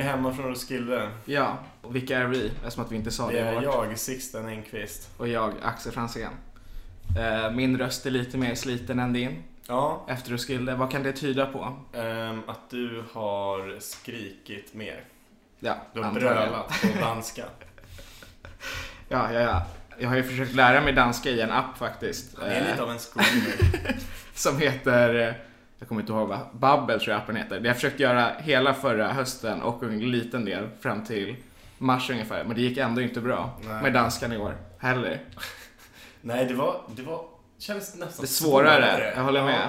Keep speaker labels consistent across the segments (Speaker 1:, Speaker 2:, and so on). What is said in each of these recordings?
Speaker 1: hemma från Roskilde.
Speaker 2: Ja, och vilka är vi? Eftersom att vi inte sa det.
Speaker 1: Det är
Speaker 2: vart.
Speaker 1: jag, Sixten Engqvist.
Speaker 2: Och jag, Axel Franzén. Eh, Min röst är lite mer sliten än din.
Speaker 1: Ja,
Speaker 2: Efter Roskilde, vad kan det tyda på?
Speaker 1: ehm, att du har skrikit mer.
Speaker 2: Ja,
Speaker 1: Du har
Speaker 2: antagligen.
Speaker 1: brölat på danska.
Speaker 2: Ja, ja, ja. Jag har ju försökt lära mig danska i en app faktiskt.
Speaker 1: Det är
Speaker 2: eh,
Speaker 1: lite av en screamer.
Speaker 2: Som heter, eh, jag kommer inte ihåg vad, Babbel tror jag appen heter. Jag försökte göra hela förra hösten och en liten del fram till mars ungefär. Men det gick ändå inte bra
Speaker 1: Nej. Alltså,
Speaker 2: med danskan i år heller.
Speaker 1: Nej, det var... Det var kändes nästan
Speaker 2: Det är svårare, jag håller med.
Speaker 1: Jag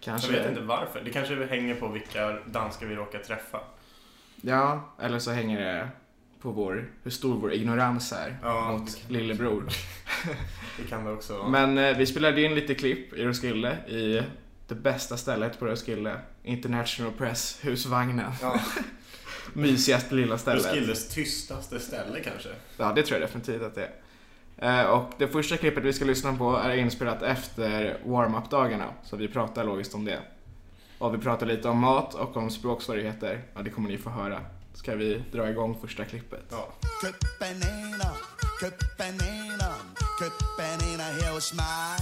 Speaker 2: Kanske.
Speaker 1: vet inte varför. Det kanske hänger på vilka danskar vi råkar träffa.
Speaker 2: Ja, eller så hänger det på vår, hur stor vår ignorans är
Speaker 1: Ja, det
Speaker 2: mot
Speaker 1: kan-
Speaker 2: lillebror.
Speaker 1: Det kan det också vara.
Speaker 2: Men eh, vi spelade in lite klipp i Roskilde, i det bästa stället på Roskilde. International Press, husvagnen.
Speaker 1: Ja,
Speaker 2: Mysigaste lilla stället.
Speaker 1: Roskildes tystaste ställe kanske.
Speaker 2: Ja, det tror jag definitivt att det är. Eh, Och det första klippet vi ska lyssna på är inspelat efter warm-up-dagarna, så vi pratar logiskt om det. Och vi pratar lite om mat och om språksvårigheter. Ja, det kommer ni få höra. Ska vi dra igång första klippet?
Speaker 1: Ja.
Speaker 3: Köpenhamn, Köpenhamn, Köpenhamn er her hos mig.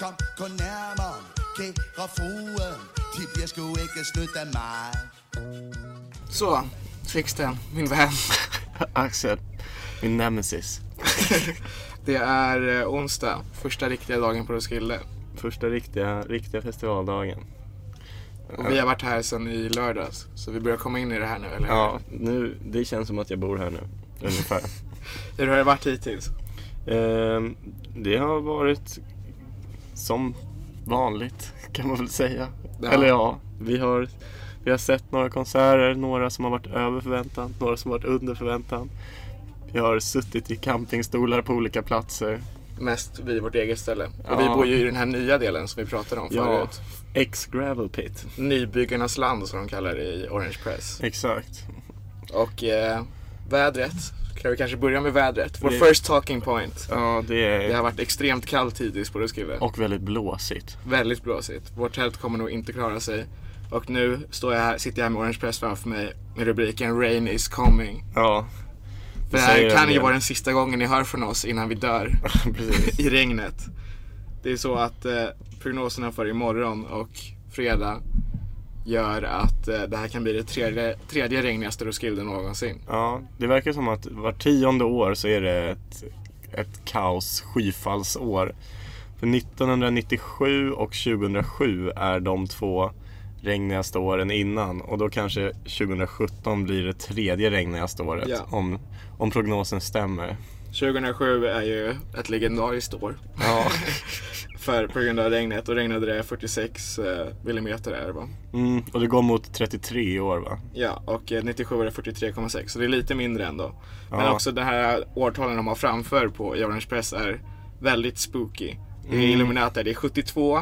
Speaker 3: Kom, gå nærmere, kære fruen, de bliver sgu ikke snydt af mig.
Speaker 2: Så, Sixten, min vän.
Speaker 1: Axel, min nemesis.
Speaker 2: Det är eh, onsdag, första riktiga dagen på Roskilde.
Speaker 1: Första riktiga, riktiga festivaldagen.
Speaker 2: Och vi har varit här sedan i lördags, så vi börjar komma in i det här nu, eller hur?
Speaker 4: Ja, nu, det känns som att jag bor här nu, ungefär.
Speaker 2: Hur har det varit hittills?
Speaker 4: Ehm, det har varit som vanligt, kan man väl säga.
Speaker 2: Ja.
Speaker 4: Eller ja, vi har, vi har sett några konserter, några som har varit över förväntan, några som har varit under förväntan. Vi har suttit i campingstolar på olika platser.
Speaker 2: Mest vid vårt eget ställe. Och
Speaker 4: Ja.
Speaker 2: vi bor ju i den här nya delen som vi pratade om
Speaker 4: Ja,
Speaker 2: förut.
Speaker 4: ex-gravel pit.
Speaker 2: Nybyggarnas land som de kallar det i Orange Press.
Speaker 4: Exakt.
Speaker 2: Och eh, vädret, kan vi kanske börja med vädret? Vår
Speaker 4: Det-
Speaker 2: first talking point.
Speaker 4: Ja, det
Speaker 2: Det
Speaker 4: är...
Speaker 2: har varit extremt kallt hittills på Roskilde.
Speaker 4: Och väldigt blåsigt.
Speaker 2: Väldigt blåsigt. Vårt tält kommer nog inte klara sig. Och nu står jag här, sitter jag här med Orange Press framför mig med rubriken Rain is coming.
Speaker 4: Ja,
Speaker 2: För det
Speaker 4: säger
Speaker 2: här
Speaker 4: en
Speaker 2: kan ju
Speaker 4: del.
Speaker 2: vara den sista gången ni hör från oss innan vi dör
Speaker 4: precis.
Speaker 2: i regnet. Det är så att eh, prognoserna för imorgon och fredag gör att eh, det här kan bli det tredje, tredje regnigaste Roskilde någonsin.
Speaker 4: Ja, det verkar som att var tionde år så är det ett, ett kaos skyfallsår. För 1997 och 2007 är de två regnigaste åren innan och då kanske 2017 blir det tredje regnigaste året
Speaker 2: Ja.
Speaker 4: om, om prognosen stämmer.
Speaker 2: 2007 är ju ett legendariskt år
Speaker 4: Ja,
Speaker 2: för, på grund av regnet och regnade det 46 eh, millimeter är det va?
Speaker 4: mm, och det går mot 33 i år va?
Speaker 2: Ja, och eh, 97 var det 43,6 så det är lite mindre ändå. Men
Speaker 4: Ja.
Speaker 2: också det här årtalen de har framför på i Orange Press är väldigt spooky. Det är
Speaker 4: Mm.
Speaker 2: Illuminati, det är 72,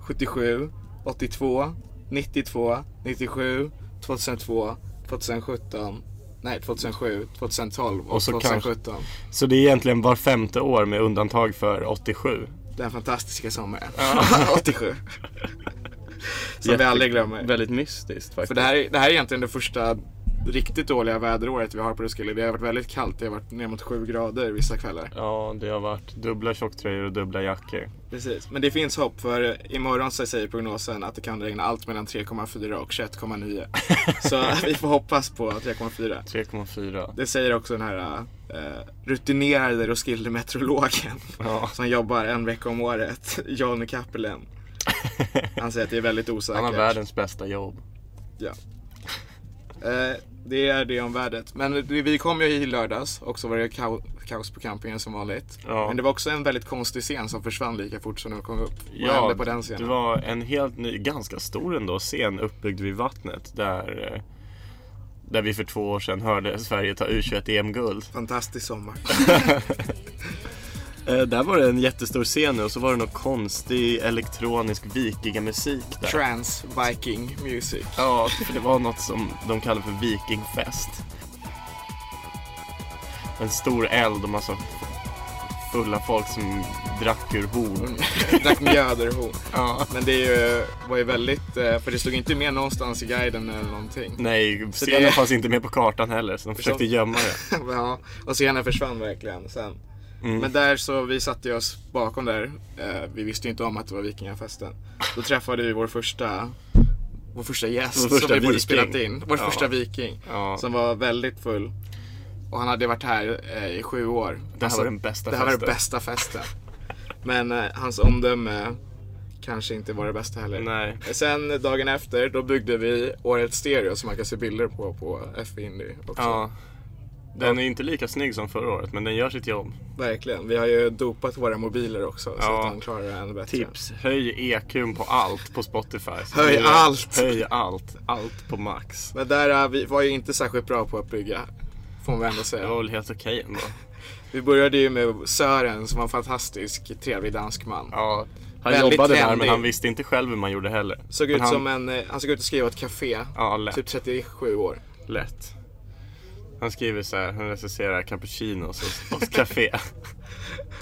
Speaker 2: 77, 82, 92, 97, 2002, 2017, nej 2007, 2012 och,
Speaker 4: Och så kanske-
Speaker 2: 2017.
Speaker 4: Så det är egentligen var femte år med undantag för 87.
Speaker 2: Den fantastiska sommaren, 87. Som vi
Speaker 4: Jätte-
Speaker 2: aldrig glömmer.
Speaker 4: Väldigt mystiskt faktiskt.
Speaker 2: För det här, är- det här är egentligen det första riktigt dåliga väderåret vi har på Roskilde. Det har varit väldigt kallt, det har varit ner mot 7 grader vissa kvällar.
Speaker 4: Ja, det har varit dubbla tjocktröjor och dubbla jackor.
Speaker 2: Precis, men det finns hopp för imorgon så säger prognosen att det kan regna allt mellan 3,4 och 21,9. Så vi får hoppas på 3,4.
Speaker 4: 3,4.
Speaker 2: Det säger också den här eh, rutinerade Roskilde-meteorologen
Speaker 4: Ja.
Speaker 2: som jobbar en vecka om året, Johnny Kapelen. Han säger att det är väldigt osäkert.
Speaker 4: Han har världens bästa jobb.
Speaker 2: Ja. Eh, det är det om värdet. Men det- vi kom ju i lördags och så var det kao- kaos på campingen som vanligt.
Speaker 4: Ja.
Speaker 2: Men det var också en väldigt konstig scen som försvann lika fort som den kom upp. Vad
Speaker 4: Ja,
Speaker 2: hände på den
Speaker 4: Det
Speaker 2: scenen?
Speaker 4: var en helt ny, ganska stor ändå, scen uppbyggd vid vattnet där, eh, där vi för två år sedan hörde Sverige ta U21-EM-guld.
Speaker 2: Fantastisk sommar.
Speaker 4: Eh, där var det en jättestor scen nu och så var det någon konstig elektronisk vikingamusik där.
Speaker 2: Trans Viking Music.
Speaker 4: Ja, för det var något som de kallade för vikingfest. En stor eld och massa fulla folk som drack ur horn.
Speaker 2: Drack mjöd ur horn.
Speaker 4: Ja.
Speaker 2: Men det är ju, var ju väldigt, eh, för det stod inte med någonstans i guiden eller någonting.
Speaker 4: Nej,
Speaker 2: Så
Speaker 4: scenen
Speaker 2: det-
Speaker 4: fanns inte med på kartan heller så de försökte
Speaker 2: Förstår-
Speaker 4: gömma det.
Speaker 2: ja, och scenen försvann verkligen sen.
Speaker 4: Mm.
Speaker 2: Men där så, vi satte ju oss bakom där. Eh, vi visste ju inte om att det var vikingafesten. Då träffade vi vår första, vår första gäst
Speaker 4: Vår första
Speaker 2: som vi borde
Speaker 4: viking.
Speaker 2: spelat in. Vår
Speaker 4: Ja.
Speaker 2: första viking.
Speaker 4: Ja.
Speaker 2: Som var väldigt full. Och han hade varit här eh, i sju år.
Speaker 4: Det här var den bästa
Speaker 2: Alltså, Det här var den
Speaker 4: festen.
Speaker 2: bästa festen. Men eh, hans omdöme kanske inte var det bästa heller. Eh,
Speaker 4: Nej.
Speaker 2: Sen dagen efter, då byggde vi årets stereo som man kan se bilder på på F Indy också.
Speaker 4: Ja. Den är inte lika snygg som förra året men den gör sitt jobb.
Speaker 2: Verkligen. Vi har ju dopat våra mobiler också så
Speaker 4: Ja.
Speaker 2: att de klarar det ännu bättre.
Speaker 4: Tips, höj EQn på allt på Spotify. Så
Speaker 2: Höj
Speaker 4: det är-
Speaker 2: allt.
Speaker 4: Höj allt, allt på max.
Speaker 2: Men där eh, vi var ju inte särskilt bra på att bygga. Får man väl ändå
Speaker 4: Det
Speaker 2: säga.
Speaker 4: var väl helt okej ändå.
Speaker 2: Vi började ju med Sören som var en fantastisk, trevlig dansk man.
Speaker 4: Ja. Han
Speaker 2: Väldigt
Speaker 4: jobbade där men
Speaker 2: trendig.
Speaker 4: han visste inte själv hur man gjorde heller.
Speaker 2: Såg
Speaker 4: men
Speaker 2: ut
Speaker 4: han...
Speaker 2: som en, eh, han såg ut att skriva ett café.
Speaker 4: Ja, lätt.
Speaker 2: Typ 37 år.
Speaker 4: Lätt. Han skriver så här, han recenserar cappuccinos och, och café.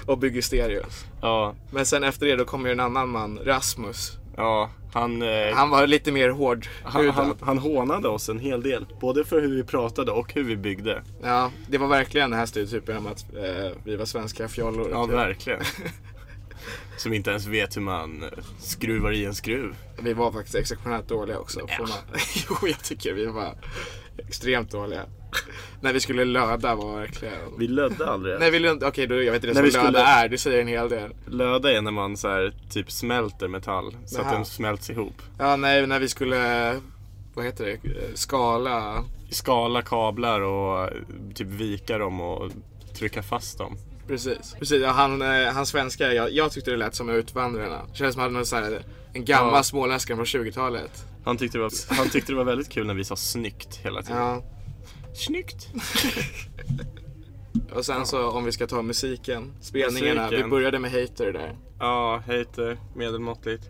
Speaker 2: Och bygger stereos.
Speaker 4: ja,
Speaker 2: Men sen efter det då kom ju en annan man, Rasmus.
Speaker 4: ja. Han, eh, han,
Speaker 2: Han var lite mer hård
Speaker 4: han, han, hånade oss en hel del. Både för hur vi pratade och hur vi byggde.
Speaker 2: Ja, det var verkligen den här stereotypen om att eh, vi var svenska fjollor.
Speaker 4: Ja,
Speaker 2: typ.
Speaker 4: verkligen. Som inte ens vet hur man eh, skruvar i en skruv.
Speaker 2: Vi var faktiskt exceptionellt dåliga också. får man- jo, jag tycker vi var extremt dåliga. När vi skulle löda var verkligen...
Speaker 4: Vi lödde aldrig.
Speaker 2: Nej, vi lund... Okej, då, jag vet inte
Speaker 4: När vi
Speaker 2: ens vad löda
Speaker 4: skulle-
Speaker 2: är. Det säger en hel del.
Speaker 4: Löda är när man så här, typ smälter metall så att
Speaker 2: Aha.
Speaker 4: den smälts ihop.
Speaker 2: Ja, nej, när vi skulle... Vad heter det? Eh, Skala.
Speaker 4: Skala kablar och eh, typ vika dem och trycka fast dem.
Speaker 2: Precis. Precis, ja, han, eh, han svenska. Jag, jag tyckte det lät som Utvandrarna. Det kändes som att han hade någon så här, en gammal
Speaker 4: Ja.
Speaker 2: småländska från 20-talet.
Speaker 4: Han tyckte, det var, han tyckte det var väldigt kul när vi sa snyggt hela tiden.
Speaker 2: Ja.
Speaker 4: Snyggt!
Speaker 2: Och sen så om vi ska ta musiken, spelningarna.
Speaker 4: Musiken.
Speaker 2: Vi började med Hater där.
Speaker 4: Ja, hater, medelmåttligt.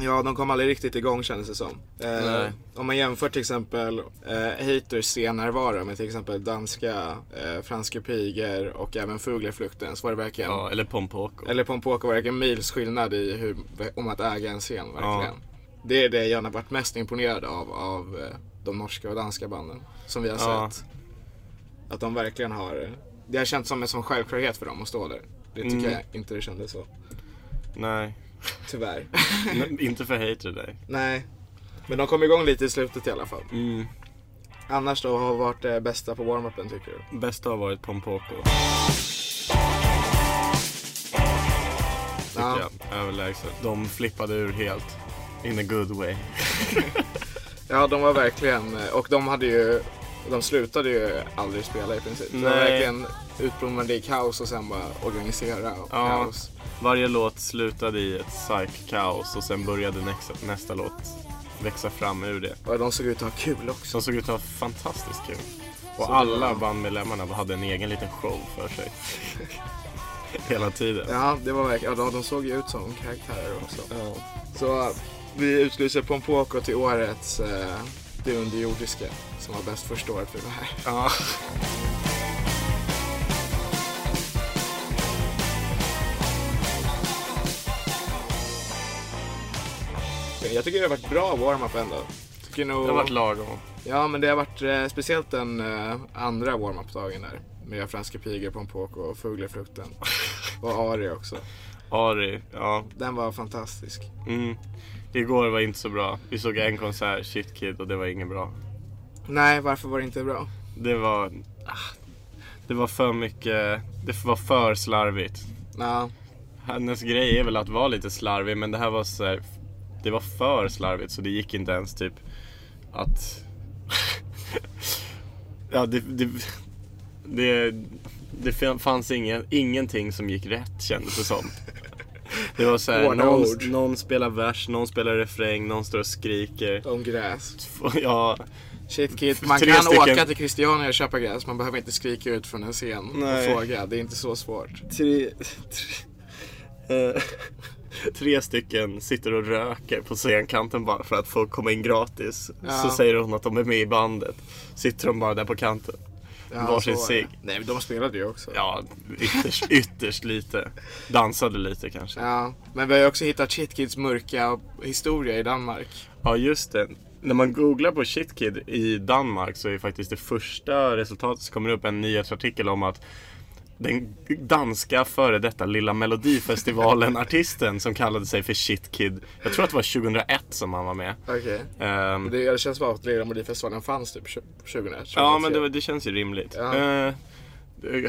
Speaker 2: Ja, de kom aldrig riktigt igång kändes det som. Eh,
Speaker 4: Nej.
Speaker 2: om man jämför till exempel eh, Haters scennärvaro med till exempel danska, eh, franska piger och även Fuglerflukten så var det verkligen,
Speaker 4: Ja, eller Pompoko.
Speaker 2: eller Pompoko var det verkligen mils skillnad i hur, om att äga en scen verkligen. Det är det jag har varit mest imponerad av, av eh, de norska och danska banden som vi har
Speaker 4: Ja.
Speaker 2: sett. Att de verkligen har, det har känts som en sån självklarhet för dem att stå där. Det tycker
Speaker 4: Mm.
Speaker 2: jag inte det kändes så,
Speaker 4: Nej,
Speaker 2: tyvärr.
Speaker 4: N- inte för hater dig.
Speaker 2: Nej, men de kom igång lite i slutet i alla fall.
Speaker 4: Mm.
Speaker 2: Annars då, har varit det bästa på warm-upen tycker du?
Speaker 4: Bästa har varit Pompoko. Tycker
Speaker 2: Ja.
Speaker 4: jag, överlägset. De flippade ur helt. In a good way.
Speaker 2: Ja, de var verkligen, och de hade ju, de slutade ju aldrig spela i princip. De var
Speaker 4: Nej.
Speaker 2: verkligen utblommade i kaos och sen bara organisera och
Speaker 4: Ja.
Speaker 2: kaos.
Speaker 4: Varje låt slutade i ett psyk-kaos och sen började nästa, nästa låt växa fram ur det.
Speaker 2: Och de såg ut att ha kul också.
Speaker 4: De såg ut att ha fantastiskt kul. Och
Speaker 2: Så det
Speaker 4: alla
Speaker 2: var-
Speaker 4: bandmedlemmarna hade en egen liten show för sig. Hela tiden.
Speaker 2: Ja, det var verkligen, ja, de såg ju ut som karaktärer också. Så äh, vi utlyser Pompoko till årets eh, Det Underjordiska, som var bäst första året vi var här.
Speaker 4: Ja.
Speaker 2: Jag tycker det har varit bra warm-up ändå. Tycker nog...
Speaker 4: Det har varit lagom.
Speaker 2: Ja, men det har varit eh, speciellt den eh, andra warm-up-dagen där. Med franska pigor, pompoko och fugglefrukten. Och Ari också.
Speaker 4: Ari, ja.
Speaker 2: Den var fantastisk.
Speaker 4: Mm. Igår var inte så bra. Vi såg en konsert, Shit Kid, och det var inget bra.
Speaker 2: Nej, varför var det inte bra?
Speaker 4: Det var... ah, Det var för mycket... Det var för slarvigt.
Speaker 2: Ja,
Speaker 4: Hennes grej är väl att vara lite slarvig, men det här var så här, Det var för slarvigt, så det gick inte ens typ att... ja, det... det, det det fanns ingen, ingenting som gick rätt kändes det som. Det var såhär,
Speaker 2: Hårda
Speaker 4: någon,
Speaker 2: ord.
Speaker 4: någon spelar vers, någon spelar refräng, någon står och skriker.
Speaker 2: om gräs.
Speaker 4: Ja,
Speaker 2: Shit kid, man
Speaker 4: Tre
Speaker 2: kan
Speaker 4: stycken.
Speaker 2: åka till Christiania och köpa gräs. Man behöver inte skrika ut från en scen
Speaker 4: Nej.
Speaker 2: och fråga. Det är inte så svårt.
Speaker 4: tre, tre, eh, tre stycken sitter och röker på scenkanten bara för att få komma in gratis.
Speaker 2: Ja.
Speaker 4: Så säger hon att de är med i bandet. Sitter de bara där på kanten. Varsin
Speaker 2: så var
Speaker 4: cigg.
Speaker 2: det. Nej men de spelade ju också.
Speaker 4: Ja, ytterst, ytterst lite. Dansade lite kanske.
Speaker 2: Ja, men vi har ju också hittat Shitkids mörka historia i Danmark.
Speaker 4: Ja, just det. När man googlar på Shitkid i Danmark så är faktiskt det första resultatet som kommer upp en nyhetsartikel om att den danska före detta lilla Melodifestivalen-artisten som kallade sig för Shitkid. Jag tror att det var 2001 som han var med.
Speaker 2: Okej.
Speaker 4: Ehm,
Speaker 2: Det, det känns som att Lilla Melodifestivalen fanns typ 20- 2001.
Speaker 4: Ja, men det, var- det känns ju rimligt.
Speaker 2: Ja.
Speaker 4: Eh,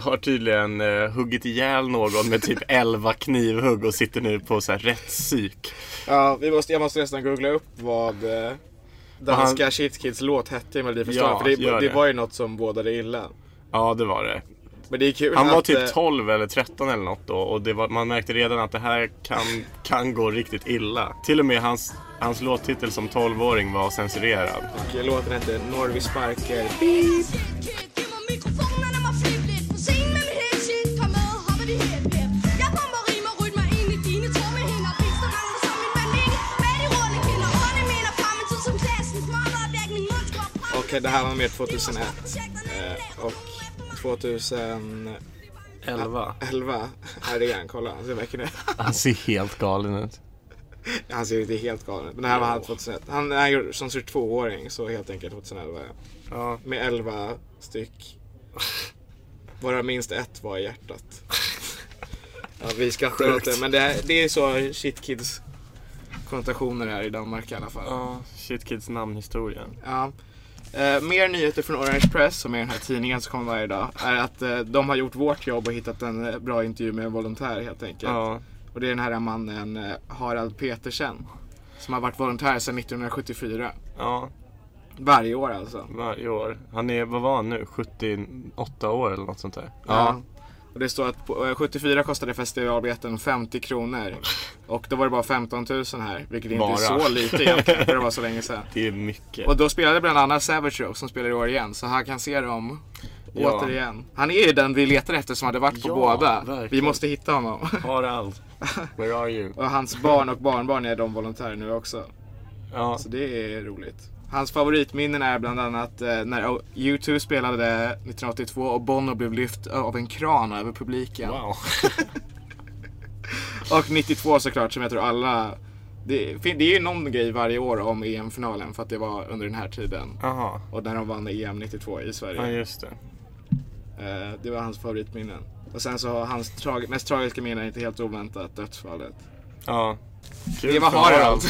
Speaker 4: har tydligen eh, huggit ihjäl någon med typ 11 knivhugg och sitter nu på så här rättspsyk.
Speaker 2: Ja, vi måste, jag måste nästan googla upp vad eh, danska Shitkids låt hette i Melodifestivalen.
Speaker 4: Ja,
Speaker 2: för det,
Speaker 4: gör
Speaker 2: det.
Speaker 4: det.
Speaker 2: var ju något som bådade illa.
Speaker 4: Ja, det var det.
Speaker 2: Men det är kul
Speaker 4: Han
Speaker 2: att,
Speaker 4: var typ
Speaker 2: eh,
Speaker 4: 12 eller 13 eller något då och det var, man märkte redan att det här kan, kan gå riktigt illa. Till och med hans, hans låttitel som 12-åring var censurerad.
Speaker 2: och låten hette Norvi sparker. Okej, det här var mer 2001. Eh, och 2011
Speaker 4: 11.
Speaker 2: är det igen, kolla. Han ser verkligen
Speaker 4: Han ser helt galen ut.
Speaker 2: Han ser inte helt galen ut. Men det här var han 2001. Han han gjorde som 22-åring, så helt enkelt 2011.
Speaker 4: Ja.
Speaker 2: Med 11 styck. Varav minst ett var i hjärtat. Ja, vi skrattar åt
Speaker 4: Sjukt.
Speaker 2: det, men det, här- det är så shit kids konnotationer här i Danmark i alla fall. Ja.
Speaker 4: Shit Kids namnhistoria.
Speaker 2: Eh, mer nyheter från Orange Press, som är den här tidningen som kommer varje dag, är att eh, de har gjort vårt jobb och hittat en eh, bra intervju med en volontär helt enkelt.
Speaker 4: Ja.
Speaker 2: Och det är den här mannen eh, Harald Petersen. Som har varit volontär sedan 1974.
Speaker 4: ja,
Speaker 2: Varje år alltså.
Speaker 4: varje år. Han är, vad var han nu? 78 år eller något sånt där?
Speaker 2: Ja. Och det står att på, eh, 74 kostade festivalbiljetten 50 kronor. Och då var det bara 15 000 här. Vilket inte
Speaker 4: Bara.
Speaker 2: är så lite egentligen. För det var så länge sedan.
Speaker 4: Det är mycket.
Speaker 2: Och då spelade bland annat Savage Rose som spelar i år igen. Så här kan se dem.
Speaker 4: Ja.
Speaker 2: Återigen. Han är ju den vi letar efter som hade varit på
Speaker 4: Ja,
Speaker 2: båda. Vi
Speaker 4: verkligen.
Speaker 2: måste hitta honom.
Speaker 4: Harald, where are you?
Speaker 2: Och hans barn och barnbarn är de volontärer nu också.
Speaker 4: Ja,
Speaker 2: Så det är roligt. Hans favoritminnen är bland annat eh, när O- U2 spelade 1982 och Bono blev lyft av en kran över publiken.
Speaker 4: wow.
Speaker 2: Och 92 såklart som jag tror alla... Det, fin- det är ju någon grej varje år om EM-finalen för att det var under den här tiden.
Speaker 4: Jaha,
Speaker 2: Och när de vann EM 92 i
Speaker 4: ja
Speaker 2: Sverige.
Speaker 4: just det.
Speaker 2: Eh, det var hans favoritminnen. Och sen så har hans tra- mest tragiska minne, inte helt oväntat, dödsfallet.
Speaker 4: Ja. Kul
Speaker 2: Det var
Speaker 4: för
Speaker 2: Harald.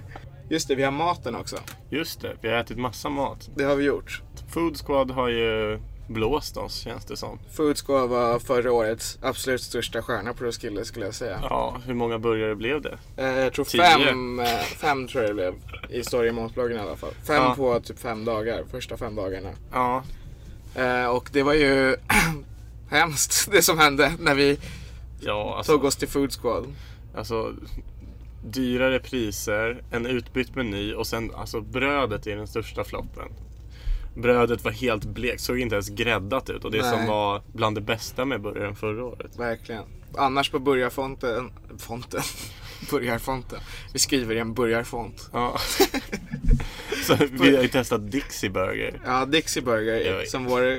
Speaker 2: Just det, vi har maten också.
Speaker 4: Just det, vi har ätit massa mat.
Speaker 2: Det har vi gjort.
Speaker 4: Food Squad har ju blåst oss känns det som.
Speaker 2: Foodscore var förra årets absolut största stjärna på Roskilde skulle jag säga.
Speaker 4: Ja, hur många burgare blev det?
Speaker 2: Eh, jag tror
Speaker 4: Tio.
Speaker 2: fem, eh, fem tror jag det blev i Story Matbloggen i alla fall. Fem
Speaker 4: Ja.
Speaker 2: på typ fem dagar, första fem dagarna.
Speaker 4: Ja,
Speaker 2: Eh, och det var ju hemskt det som hände när vi
Speaker 4: ja alltså,
Speaker 2: tog oss till Food Squad.
Speaker 4: alltså dyrare priser, en utbytt meny och sen alltså brödet är den största floppen. Brödet var helt blekt, såg inte ens gräddat ut och det
Speaker 2: Nej.
Speaker 4: som var bland det bästa med burgaren förra året.
Speaker 2: Verkligen. Annars på burgarfonten, fonten, burgarfonten. Vi skriver i en burgarfont.
Speaker 4: Ja. Så vi har ju testat Dixie Burger.
Speaker 2: Ja, Dixie Burger
Speaker 4: Oj.
Speaker 2: som vår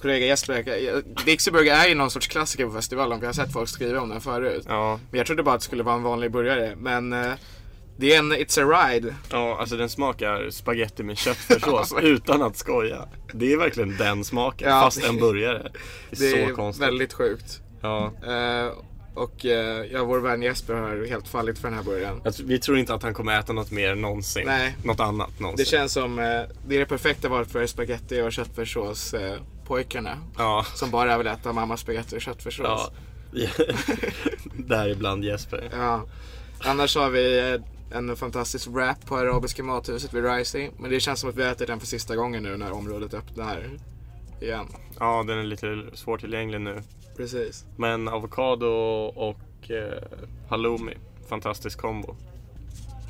Speaker 2: kollega Jesper verkar- Dixie Burger är ju någon sorts klassiker på festivalen. Vi har sett folk skriva om den förut.
Speaker 4: Ja,
Speaker 2: Men jag trodde bara att det skulle vara en vanlig burgare. Men eh, det är en It's a Ride.
Speaker 4: ja alltså den smakar spaghetti med köttfärssås utan att skoja. Det är verkligen den smaken,
Speaker 2: Ja,
Speaker 4: fast
Speaker 2: det-
Speaker 4: en burgare. Det
Speaker 2: Det
Speaker 4: är så
Speaker 2: är
Speaker 4: konstigt.
Speaker 2: väldigt sjukt.
Speaker 4: Ja.
Speaker 2: Eh, och eh, ja, vår vän Jesper har helt fallit för den här burgaren.
Speaker 4: Alltså, vi tror inte att han kommer äta något mer någonsin.
Speaker 2: Nej.
Speaker 4: Något annat någonsin.
Speaker 2: Det känns som eh, det är det perfekta valet för spaghetti och köttfärssås eh, pojkarna.
Speaker 4: Ja.
Speaker 2: Som bara vill äta mammas spaghetti och köttfärssås.
Speaker 4: ja.
Speaker 2: Ja.
Speaker 4: Däribland Jesper.
Speaker 2: Annars har vi eh, en fantastisk wrap på Arabiska mathuset vid Rising. Men det känns som att vi äter den för sista gången nu när området öppnar igen.
Speaker 4: Ja, den är lite svårtillgänglig nu.
Speaker 2: Precis.
Speaker 4: Men avokado och eh, halloumi. Fantastisk kombo.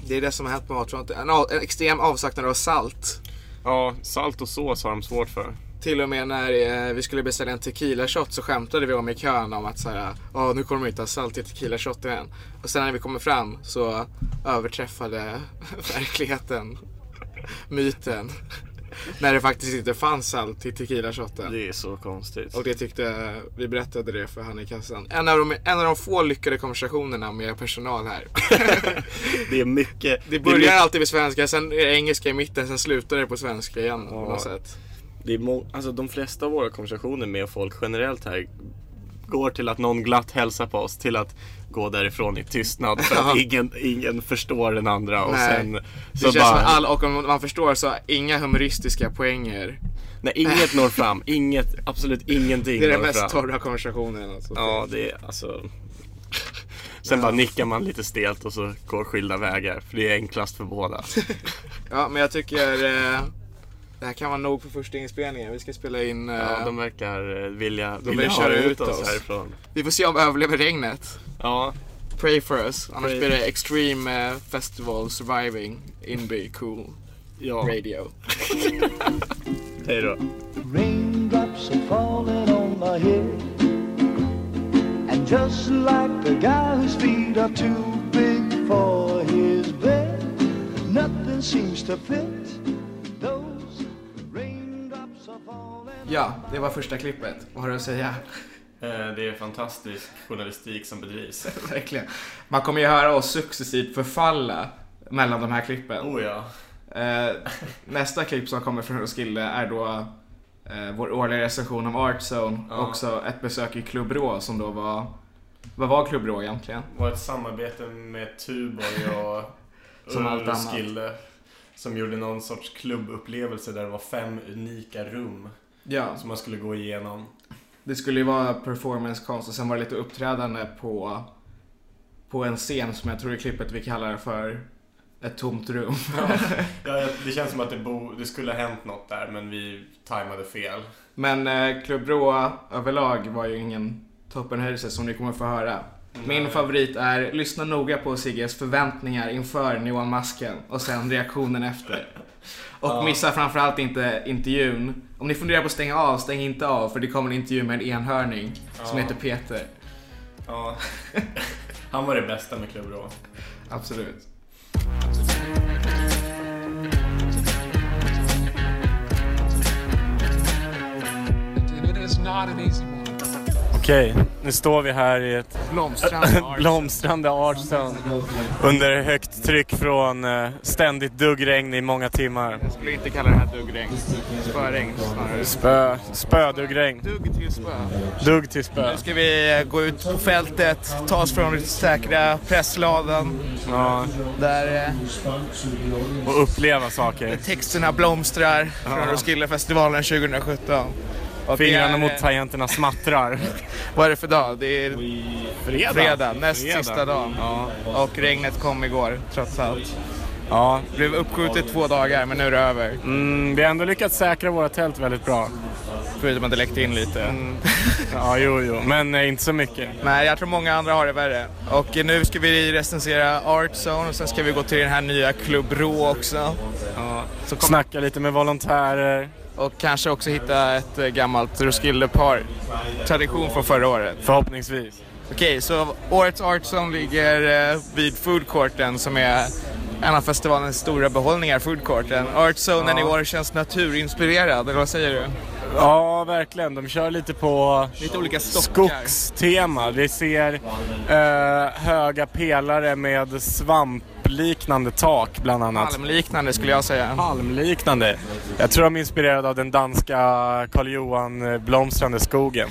Speaker 2: Det är det som har hänt med matfronten. En, a- en extrem avsaknad av salt.
Speaker 4: Ja, salt och sås har de svårt för.
Speaker 2: Till och med när eh, vi skulle beställa en tequila shot så skämtade vi om i kön om att så här, "Ja, nu kommer de inte ha salt i tequila shoten än. Och sen när vi kommer fram så överträffade verkligheten myten. När det faktiskt inte fanns salt till tequila-shotten.
Speaker 4: Det är så konstigt.
Speaker 2: Och det tyckte, vi berättade det för han i kassan. En av de, en av de få lyckade konversationerna med personal här.
Speaker 4: Det är mycket.
Speaker 2: Det
Speaker 4: är mycket-
Speaker 2: börjar alltid med svenska, sen är det engelska i mitten, sen slutar det på svenska igen på något sätt.
Speaker 4: Det är må- alltså, de flesta av våra konversationer med folk generellt här går till att någon glatt hälsar på oss till att gå därifrån i tystnad för att ingen, ingen förstår den andra och
Speaker 2: Nej.
Speaker 4: sen
Speaker 2: Det
Speaker 4: så
Speaker 2: känns
Speaker 4: bara,
Speaker 2: som all, och om man förstår så inga humoristiska poänger.
Speaker 4: nej inget når fram, inget, absolut ingenting
Speaker 2: Det är
Speaker 4: når
Speaker 2: den mest
Speaker 4: fram.
Speaker 2: torra konversationen. Alltså.
Speaker 4: Ja, det är alltså Sen bara nickar man lite stelt och så går skilda vägar för det är enklast för båda.
Speaker 2: Ja, men jag tycker eh, det här kan vara nog för första inspelningen. Vi ska spela in. Eh,
Speaker 4: Ja, de verkar eh, vilja,
Speaker 2: De
Speaker 4: vilja
Speaker 2: vill
Speaker 4: köra
Speaker 2: köra
Speaker 4: ut
Speaker 2: ut
Speaker 4: oss,
Speaker 2: oss.
Speaker 4: härifrån.
Speaker 2: Vi får se om vi överlever regnet.
Speaker 4: Ja,
Speaker 2: Pray for us. Annars
Speaker 4: Pray.
Speaker 2: blir det Extreme eh, Festival Surviving Inby Cool
Speaker 4: ja.
Speaker 2: Radio.
Speaker 4: hej då.
Speaker 5: Raindrops are falling on my head. And just like the guy whose feet are too big for his bed, nothing seems to fit. Those raindrops are falling.
Speaker 6: Ja, det var första klippet. Vad har du att säga?
Speaker 7: Eh, Det är fantastisk journalistik som bedrivs.
Speaker 6: Verkligen. Man kommer ju höra oss successivt förfalla mellan de här klippen.
Speaker 7: Oh ja.
Speaker 6: Eh, nästa klipp som kommer från Roskilde är då eh, vår årliga recension om Artzone.
Speaker 7: Ja.
Speaker 6: Också ett besök i Club Rå som då var... Vad var Club Rå egentligen?
Speaker 7: var ett samarbete med Tuborg och
Speaker 6: Som allt annat.
Speaker 7: Roskilde. Som gjorde någon sorts klubbupplevelse där det var fem unika rum
Speaker 6: Ja.
Speaker 7: som man skulle gå igenom.
Speaker 6: Det skulle ju vara performancekonst och sen var det lite uppträdande på, på en scen som jag tror i klippet vi kallar för ett tomt rum.
Speaker 7: Ja, det känns som att det, bo, det skulle ha hänt något där men vi tajmade fel.
Speaker 6: Men eh, Club Rå överlag var ju ingen toppenhöjdelse som ni kommer få höra. Min favorit är lyssna noga på Sigges förväntningar inför neonmasken och sen reaktionen efter. Och missa framförallt inte intervjun. Om ni funderar på att stänga av, stäng inte av för det kommer en intervju med en enhörning som
Speaker 7: Ja.
Speaker 6: heter Peter.
Speaker 7: Ja. Han var det bästa med Club Rå.
Speaker 6: Absolut.
Speaker 8: and it is not an easy one.
Speaker 4: Okej, nu står vi här i ett
Speaker 6: Blomstrande
Speaker 4: blomstrande Artsound under högt tryck från eh, ständigt duggregn i många timmar.
Speaker 2: Jag skulle inte kalla det här duggregn. Spöregn snarare.
Speaker 4: Spö, spöduggregn.
Speaker 2: Dugg till spö.
Speaker 4: Dugg till spö.
Speaker 2: ska vi eh, gå ut på fältet, ta oss från den säkra pressladan
Speaker 4: Ja,
Speaker 2: där eh,
Speaker 4: och uppleva saker.
Speaker 2: texterna blomstrar från Roskildefestivalen 2017. Och
Speaker 4: Fingrarna mot tangenterna smattrar.
Speaker 2: Vad är det för dag? Det är
Speaker 4: Fredag.
Speaker 2: fredag, näst sista dagen. Och regnet kom igår, trots allt.
Speaker 4: Ja,
Speaker 2: Blev uppskjutet två dagar, men nu är det över.
Speaker 4: mm, vi har ändå lyckats säkra våra tält väldigt bra.
Speaker 2: Förutom att det läckte in lite.
Speaker 4: Ja, jo, jo, men eh, inte så mycket.
Speaker 2: Mm. Nej, jag tror många andra har det värre. Och eh, nu ska vi recensera Artzone och sen ska vi gå till den här nya Club Rå också. Så kom,
Speaker 4: Snacka lite med volontärer.
Speaker 2: och kanske också hitta ett eh, gammalt Roskildepar. Tradition från förra året.
Speaker 4: Förhoppningsvis.
Speaker 2: Okej, så årets Artzone ligger eh, vid foodcourten som är en av festivalens stora behållningar, foodcourten. Artzonen i år känns naturinspirerad, eller vad säger du?
Speaker 4: Ja, verkligen. De kör lite på
Speaker 2: Lite olika stockar.
Speaker 4: skogstema. Vi ser eh, höga pelare med svampliknande tak bland annat.
Speaker 2: Palmliknande skulle jag säga.
Speaker 4: Palmliknande. Jag tror de är inspirerade av den danska Karl Johan eh, blomstrande skogen.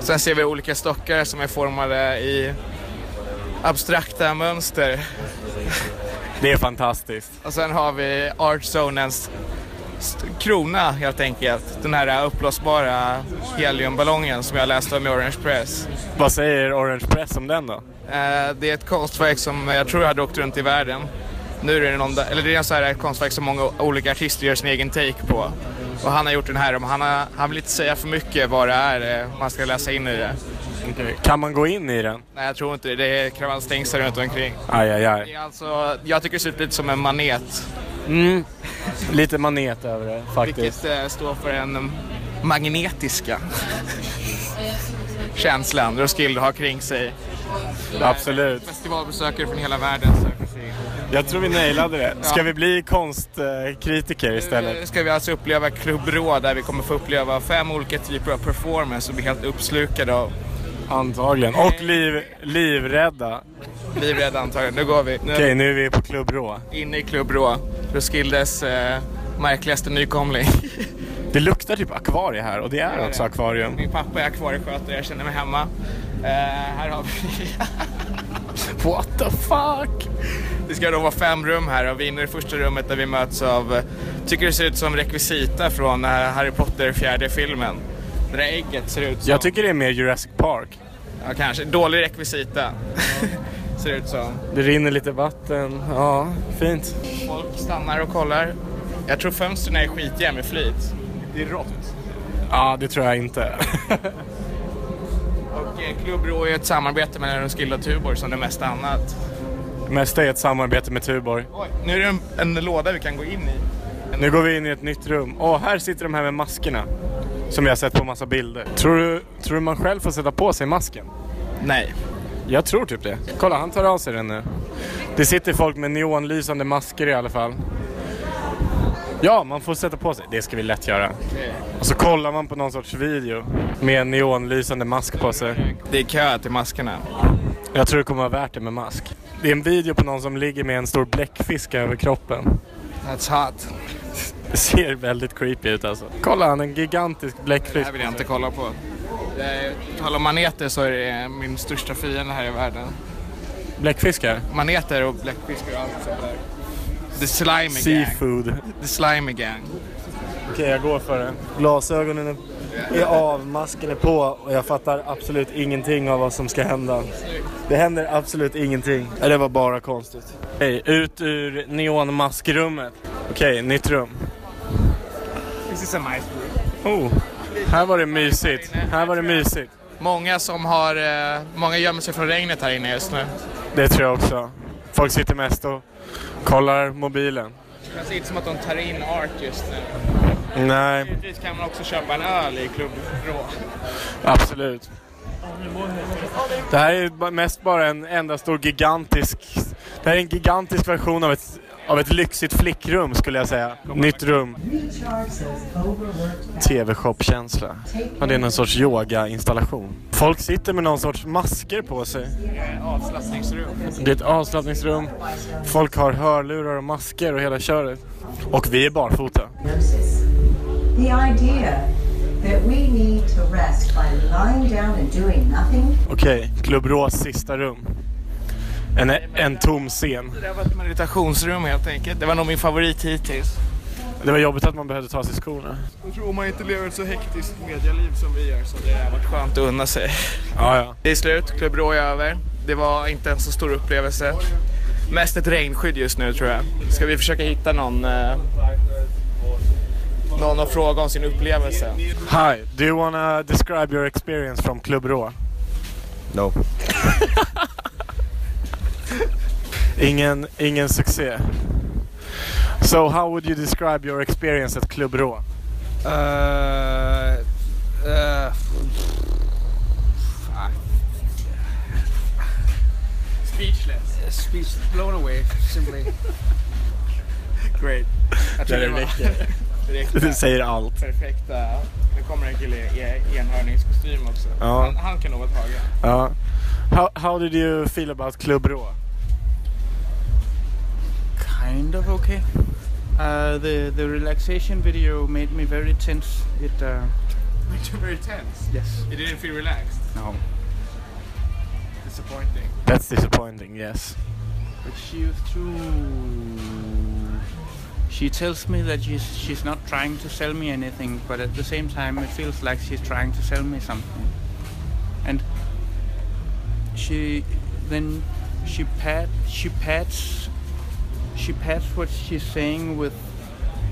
Speaker 2: Sen ser vi olika stockar som är formade i abstrakta mönster.
Speaker 4: Det är fantastiskt.
Speaker 2: Och sen har vi Artzonens st- krona helt enkelt. Den här uppblåsbara heliumballongen som jag läste om i Orange Press.
Speaker 4: Vad säger Orange Press om den då?
Speaker 2: Eh, Det är ett konstverk som jag tror hade åkt runt i världen. Nu är det, någon, eller det är så här ett konstverk som många olika artister gör sin egen take på. Och han har gjort den här, om han, har, han vill inte säga för mycket vad det är eh, man ska läsa in i det.
Speaker 4: Kan man gå in i den?
Speaker 2: Nej, jag tror inte det. Det är kravallstängsel runt omkring.
Speaker 4: Aj, aj,
Speaker 2: Det
Speaker 4: aj.
Speaker 2: är alltså, jag tycker det ser ut lite som en manet,
Speaker 4: Mm. Lite manet över det faktiskt.
Speaker 2: vilket eh, står för en mm, magnetiska känslan Roskilde har kring sig.
Speaker 4: Absolut.
Speaker 2: Festivalbesökare från hela världen söker sig in.
Speaker 4: Jag tror vi nailade det. Ska vi bli konstkritiker
Speaker 2: Nu
Speaker 4: istället?
Speaker 2: ska vi alltså uppleva klubbråd där vi kommer få uppleva fem olika typer av performance och bli helt uppslukade av
Speaker 4: Eh, Antagligen. Och liv, livrädda.
Speaker 2: livrädda antagligen. Nu går vi. Nu är
Speaker 4: Okej, nu är vi på Klubb Rå.
Speaker 2: vi inne i klubbråd. Roskildes eh, märkligaste nykomling.
Speaker 4: Det luktar typ akvarie här och det är också akvarium.
Speaker 2: Min pappa är akvarieskötare, jag känner mig hemma. Eh, här har vi... What the fuck? Det ska då vara fem rum här och vi är inne i det första rummet där vi möts av, eh, tycker det ser ut som rekvisita från eh, Harry Potter fjärde filmen. Det där ägget ser ut som...
Speaker 4: Jag tycker det är mer Jurassic Park.
Speaker 2: Ja, kanske. Dålig rekvisita. Ser det ut som.
Speaker 4: Det rinner lite vatten. Ja, fint.
Speaker 2: Folk stannar och kollar. Jag tror fönstren är skitiga med flyt. Det är rått.
Speaker 4: Ja, det tror jag inte.
Speaker 2: Och eh, Klubb Rå är ett samarbete mellan Roskilde och Tuborg som det mesta annat.
Speaker 4: Det mesta är ett samarbete med Tuborg.
Speaker 2: Oj, nu är det en, en låda vi kan gå in i.
Speaker 4: Nu går vi in i ett nytt rum. Åh, här sitter de här med maskerna. Som jag har sett på massa bilder. Tror du, tror du man själv får sätta på sig masken?
Speaker 2: Nej.
Speaker 4: Jag tror typ det. Kolla, han tar av sig den nu. Det sitter folk med neonlysande masker i alla fall. Ja, man får sätta på sig. Det ska vi lätt göra. Och så kollar man på någon sorts video med en neonlysande mask på sig.
Speaker 2: Det är kö till maskerna.
Speaker 4: Jag tror det kommer vara värt det med mask. Det är en video på någon som ligger med en stor bläckfisk över kroppen.
Speaker 2: That's hot.
Speaker 4: Det ser väldigt creepy ut alltså. Kolla, han har en gigantisk
Speaker 2: Det
Speaker 4: bläckfisk.
Speaker 2: här vill jag inte kolla på. Eh, Tala om maneter så är det min största fiende här i världen.
Speaker 4: Bläckfiskar?
Speaker 2: Maneter och bläckfiskar och allt sånt där. The slimy gang.
Speaker 4: Seafood. Okej,
Speaker 2: The slimy gang.
Speaker 4: jag går för det. Glasögonen är av, masken är på och jag fattar absolut ingenting av vad som ska hända. Det händer absolut ingenting. Det var bara konstigt. Okej, ut ur neonmaskrummet. Okej, nytt rum.
Speaker 2: This is a nice room.
Speaker 4: Oh, här var det mysigt. Här var det mysigt.
Speaker 2: Många som har, eh, många gömmer sig från regnet här inne just nu.
Speaker 4: Det tror jag också. Folk sitter mest och kollar mobilen.
Speaker 2: Det känns inte som att de tar in art just nu.
Speaker 4: Nej,
Speaker 2: Givetvis kan man också köpa en öl i Klubb Rå.
Speaker 4: absolut. Det här är ba- mest bara en enda stor gigantisk... Det här är en gigantisk version av ett, av ett lyxigt flickrum skulle jag säga. Nytt rum. TV-shop-känsla. Ja, det är någon sorts yoga-installation. Folk sitter med någon sorts masker på sig.
Speaker 2: Eh, Avslappningsrum.
Speaker 4: Det är ett avslappningsrum. Folk har hörlurar och masker och hela köret. Och vi är barfota.
Speaker 9: hypnosis. The idea that we need to rest by lying down and doing nothing
Speaker 4: Okej, Klubb Rås sista rum. En, en tom scen.
Speaker 2: Det där var ett meditationsrum helt enkelt. Det var nog min favorit hittills.
Speaker 4: Det var jobbigt att man behövde ta sig skorna.
Speaker 2: Jag tror man inte lever ett så hektiskt medialiv som vi gör så det har varit skönt att unna sig.
Speaker 4: Ja, ja.
Speaker 2: Det är slut, Klubb Rå är över. Det var inte en så stor upplevelse. Mest ett regnskydd just nu tror jag. Ska vi försöka hitta någon, eh, någon att fråga om sin upplevelse?
Speaker 4: Hi, do you wanna describe your experience from Klubb Rå?
Speaker 10: No.
Speaker 4: Ingen, ingen succé. So how would you describe your experience at Klubb Rå? Eh,
Speaker 10: Uh, uh,
Speaker 2: Speechless.
Speaker 10: speech blown away, simply.
Speaker 2: Great. Jag tror
Speaker 4: Det
Speaker 2: det var
Speaker 4: räcker.
Speaker 2: direkt
Speaker 4: Du säger allt.
Speaker 2: perfekta. Nu kommer en kille i i enhörningskostym också.
Speaker 4: Ja.
Speaker 2: Han, han kan nog vara tagen.
Speaker 4: Ja. How, how did you feel about Klubb Rå?
Speaker 11: kind of okay. Uh, the the relaxation video made me very tense. It uh,
Speaker 2: But you're very tense.
Speaker 11: yes
Speaker 2: You didn't feel relaxed.
Speaker 11: no,
Speaker 2: Disappointing.
Speaker 4: That's disappointing, yes.
Speaker 11: but she used to. She tells me that she's she's not trying to sell me anything, but at the same time it feels like she's trying to sell me something. And she then she pat she pats she pats what she's saying with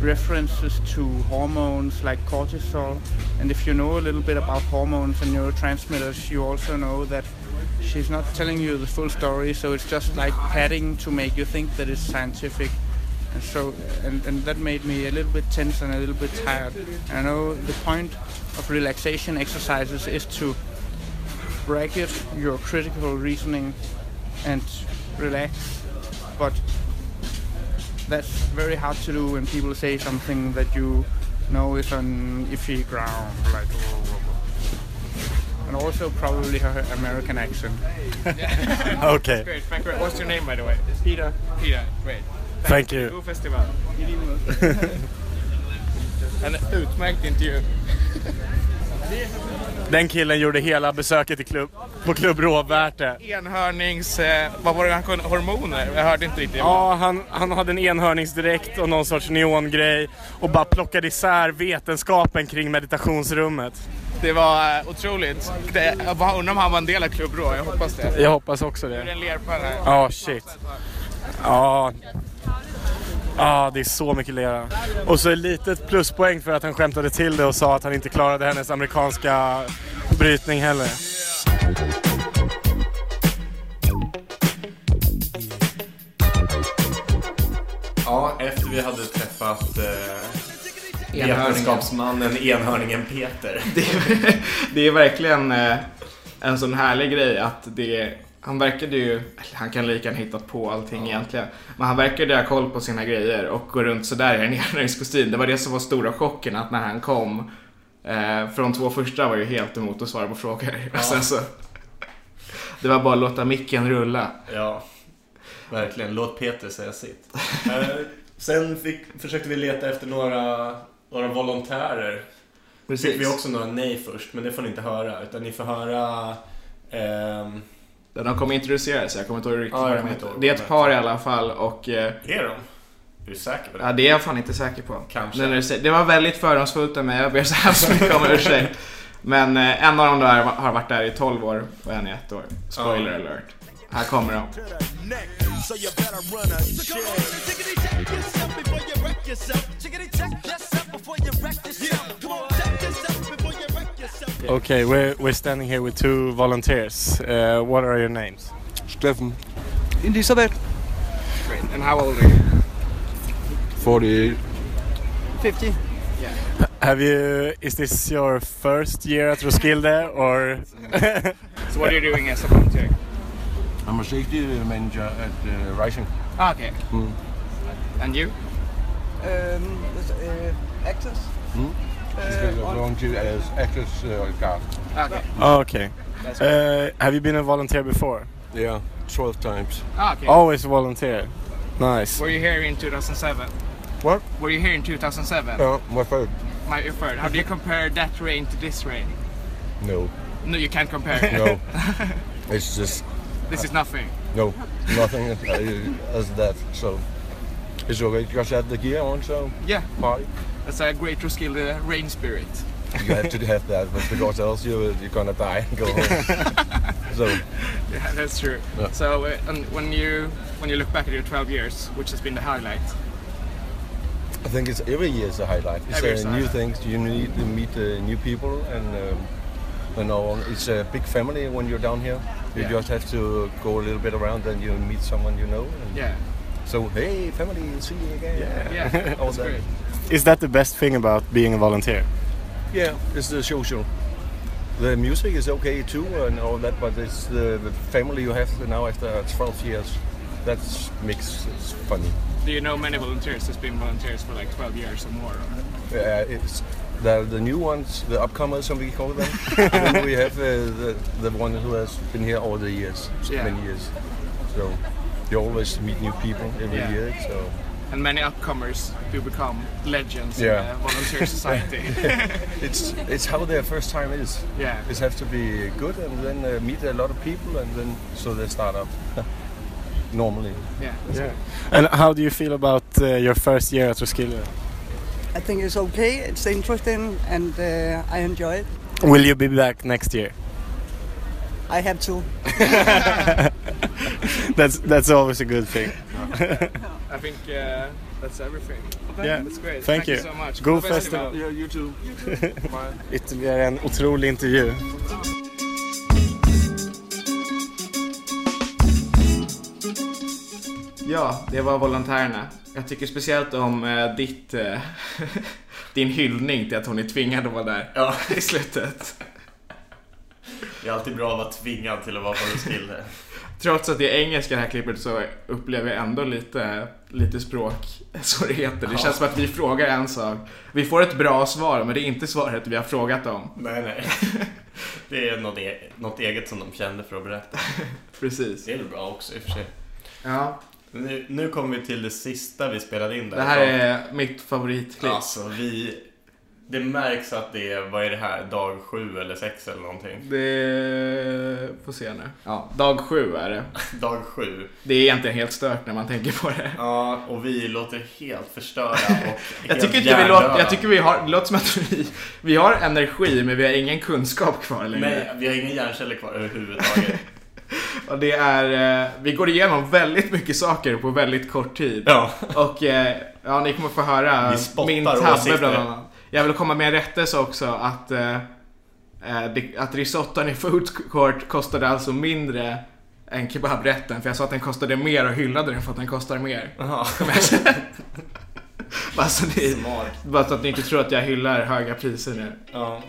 Speaker 11: references to hormones like cortisol and if you know a little bit about hormones and neurotransmitters you also know that she's not telling you the full story so it's just like padding to make you think that it's scientific and so and, and that made me a little bit tense and a little bit tired and i know the point of relaxation exercises is to bracket your critical reasoning and relax but that's very hard to do when people say something that you know is on iffy ground, like. oh, And also probably her American accent.
Speaker 4: Okay.
Speaker 12: Great, thank you. What's your name, by the way?
Speaker 11: Peter.
Speaker 12: Peter, great.
Speaker 4: Thank you.
Speaker 12: God festival. en utmärkt intervju.
Speaker 4: Den killen gjorde hela besöket i klubb, på Klubb Rå värt det.
Speaker 12: Enhörnings... Eh, vad var det han kunde? Hormoner? Jag hörde inte riktigt.
Speaker 4: Ja, han, han hade en enhörningsdräkt och någon sorts neongrej och bara plockade isär vetenskapen kring meditationsrummet.
Speaker 12: Det var eh, otroligt. Det, jag bara undrar om han var en del av Klubb Rå. Jag hoppas det.
Speaker 4: Jag hoppas också
Speaker 12: Nu är det
Speaker 4: det.
Speaker 12: en lerpa här.
Speaker 4: Ja, shit. Ja. Ja, det är så mycket lera. Och så ett litet pluspoäng för att han skämtade till det och sa att han inte klarade hennes amerikanska brytning heller.
Speaker 1: Ja, efter vi hade träffat eh,
Speaker 2: Enhörningen.
Speaker 1: vetenskapsmannen enhörningen Peter.
Speaker 2: det är verkligen eh, en sån härlig grej att det han verkade ju, eller han kan lika gärna hittat på allting egentligen, men han verkade ha koll på sina grejer och gå runt sådär i en enhörningskostym. Det var det som var stora chocken att när han kom, eh, för de två första var ju helt emot att svara på frågor. Och sen så, det var bara att låta micken rulla.
Speaker 1: Ja, verkligen. Låt Peter säga sitt. Eh, sen fick, försökte vi leta efter några, några volontärer.
Speaker 2: Precis.
Speaker 1: Fick vi också några nej först, men det får ni inte höra. Utan ni får höra... ehm,
Speaker 2: De kommer introducera sig, jag kommer inte ihåg riktigt
Speaker 1: Ja, jag
Speaker 2: vad de
Speaker 1: kommer
Speaker 2: heter.
Speaker 1: inte ihåg
Speaker 2: Det är
Speaker 1: vad
Speaker 2: ett
Speaker 1: de heter.
Speaker 2: par i alla fall och eh,
Speaker 1: är de? Är du säker på det?
Speaker 2: Ja, det är jag fan inte säker på.
Speaker 1: Kanske.
Speaker 2: Men när du säger- Det var väldigt fördomsfullt av mig. Jag ber så hemskt mycket om ursäkt. Men eh, en av dem där har varit där i 12 år och en i ett år. Spoiler alert. Här kommer de.
Speaker 13: So you better run a check. Chickity check yourself before you wreck yourself. Chickity check yourself before you wreck yourself. Come on, check yourself before you wreck yourself.
Speaker 4: Okay, we're, we're standing here with two volunteers. Uh, what are your names? Stefan.
Speaker 14: Elizabeth.
Speaker 2: And how old are you?
Speaker 15: 48.
Speaker 14: 50.
Speaker 4: Have you? Is this your first year at Roskilde, or?
Speaker 12: So what are you doing as a volunteer?
Speaker 15: I'm a safety manager at uh, Rising.
Speaker 12: Ah, okay.
Speaker 15: Mm.
Speaker 12: And you?
Speaker 14: Um, uh, actors.
Speaker 15: Mm. Uh, volunteer as actors uh, guard.
Speaker 12: Ah, Okay.
Speaker 4: Oh, okay.
Speaker 12: That's
Speaker 4: Uh, have you been a volunteer before?
Speaker 15: Yeah, 12 times.
Speaker 12: Ah, okay.
Speaker 4: Always volunteer. Nice.
Speaker 12: Were you here in 2007?
Speaker 15: What?
Speaker 12: Were you here in 2007?
Speaker 15: Uh, my third.
Speaker 12: My effort. How do you compare that rain to this rain?
Speaker 15: No.
Speaker 12: No, you can't compare.
Speaker 15: No. it's just
Speaker 12: this is nothing.
Speaker 15: no, nothing as- uh, as that. So er it's okay. Just have the gear on, so
Speaker 12: Yeah.
Speaker 15: party.
Speaker 12: That's a great Roskilde rain spirit.
Speaker 15: You have to have that, but because else you you're gonna die and go home. so
Speaker 12: Yeah, that's true.
Speaker 15: Yeah.
Speaker 12: So, uh, and when you when you look back at your 12 years, which has been the highlight,
Speaker 15: I think it's every year is a highlight. It's
Speaker 12: Every year's
Speaker 15: uh,
Speaker 12: a
Speaker 15: new
Speaker 12: highlight.
Speaker 15: things. You need to meet uh, new people, and um, you know it's a big family when you're down here. You
Speaker 12: Yeah.
Speaker 15: just have to go a little bit around, and you meet someone you know. And
Speaker 12: Yeah.
Speaker 15: So hey, family, see you again.
Speaker 12: Yeah, that's
Speaker 15: All that.
Speaker 12: great.
Speaker 4: Is that the best thing about being a volunteer?
Speaker 15: Yeah, it's the social. The music is okay too and all that, but it's the, the family you have now after 12 years. That makes it funny.
Speaker 12: do you know many volunteers that's been volunteers for like 12 years or more? Or?
Speaker 15: Uh, it's the, the new ones, the upcomers, some we call them. and then we have uh, the, the one who has been here all the years, so
Speaker 12: Yeah.
Speaker 15: many years. So you always meet new people every
Speaker 12: Yeah.
Speaker 15: year. So
Speaker 12: And many upcomers who become legends
Speaker 15: Yeah.
Speaker 12: in the volunteer society.
Speaker 15: it's it's how their first time is.
Speaker 12: Yeah.
Speaker 15: it has to be good, and then uh, meet a lot of people, and then so they start up normally.
Speaker 12: Yeah.
Speaker 4: And how do you feel about uh, your first year at Roskilde?
Speaker 16: I think it's okay. It's interesting, and uh, I enjoy it.
Speaker 4: Will you be back next year?
Speaker 16: I have to.
Speaker 4: that's that's always a good thing.
Speaker 12: I think uh, that's everything.
Speaker 4: Yeah.
Speaker 12: That's great.
Speaker 4: Thank
Speaker 12: you.
Speaker 4: you.
Speaker 12: so much.
Speaker 4: Go
Speaker 12: Good festival.
Speaker 4: festival.
Speaker 15: you too.
Speaker 4: Ytterligare en otrolig intervju.
Speaker 2: Ja, det var volontärerna. Jag tycker speciellt om eh, ditt, eh, din hyllning till att hon är tvingad att vara där i slutet.
Speaker 1: Jag är alltid bra att vara tvingad till att vara på Roskilde.
Speaker 2: Trots att det är engelska det här klippet så upplever jag ändå lite, lite språksvårigheter. Det
Speaker 1: Ja.
Speaker 2: känns som att vi frågar en sak. Vi får ett bra svar men det är inte svaret vi har frågat om.
Speaker 1: Nej, nej. Det är något, e- något eget som de kände för att berätta.
Speaker 2: Precis.
Speaker 1: Det är väl bra också i och för sig.
Speaker 2: Ja.
Speaker 1: Nu, nu kommer vi till det sista vi spelade in där.
Speaker 2: Det här är mitt favoritklipp.
Speaker 1: Alltså, vi... Det märks att det är, vad är det här, dag sju eller sex eller någonting.
Speaker 2: Det... Får se nu. Ja, dag sju är det.
Speaker 1: Dag sju.
Speaker 2: Det är egentligen helt stört när man tänker på det.
Speaker 1: Ja, och vi låter helt förstörda och
Speaker 2: Jag tycker,
Speaker 1: helt
Speaker 2: inte vi låter,
Speaker 1: hjärndöda.
Speaker 2: jag tycker vi har, det låter som att vi, vi har energi men vi har ingen kunskap kvar längre.
Speaker 1: Nej, vi har ingen hjärnceller kvar överhuvudtaget.
Speaker 2: Och det är, eh, vi går igenom väldigt mycket saker på väldigt kort tid.
Speaker 1: Ja.
Speaker 2: Och eh, ja, ni kommer få höra
Speaker 1: Vi spottar
Speaker 2: min tabbe
Speaker 1: åsikter.
Speaker 2: bland annat. Jag vill komma med en rättelse också att, eh, eh, det- att risotton i food court kostade alltså mindre än kebabrätten. För jag sa att den kostade mer och hyllade den för att den kostar mer.
Speaker 1: Jaha.
Speaker 2: Kommer jag säga. Bara så ni, bara så att ni inte tror att jag hyllar höga priser nu.
Speaker 1: Ja.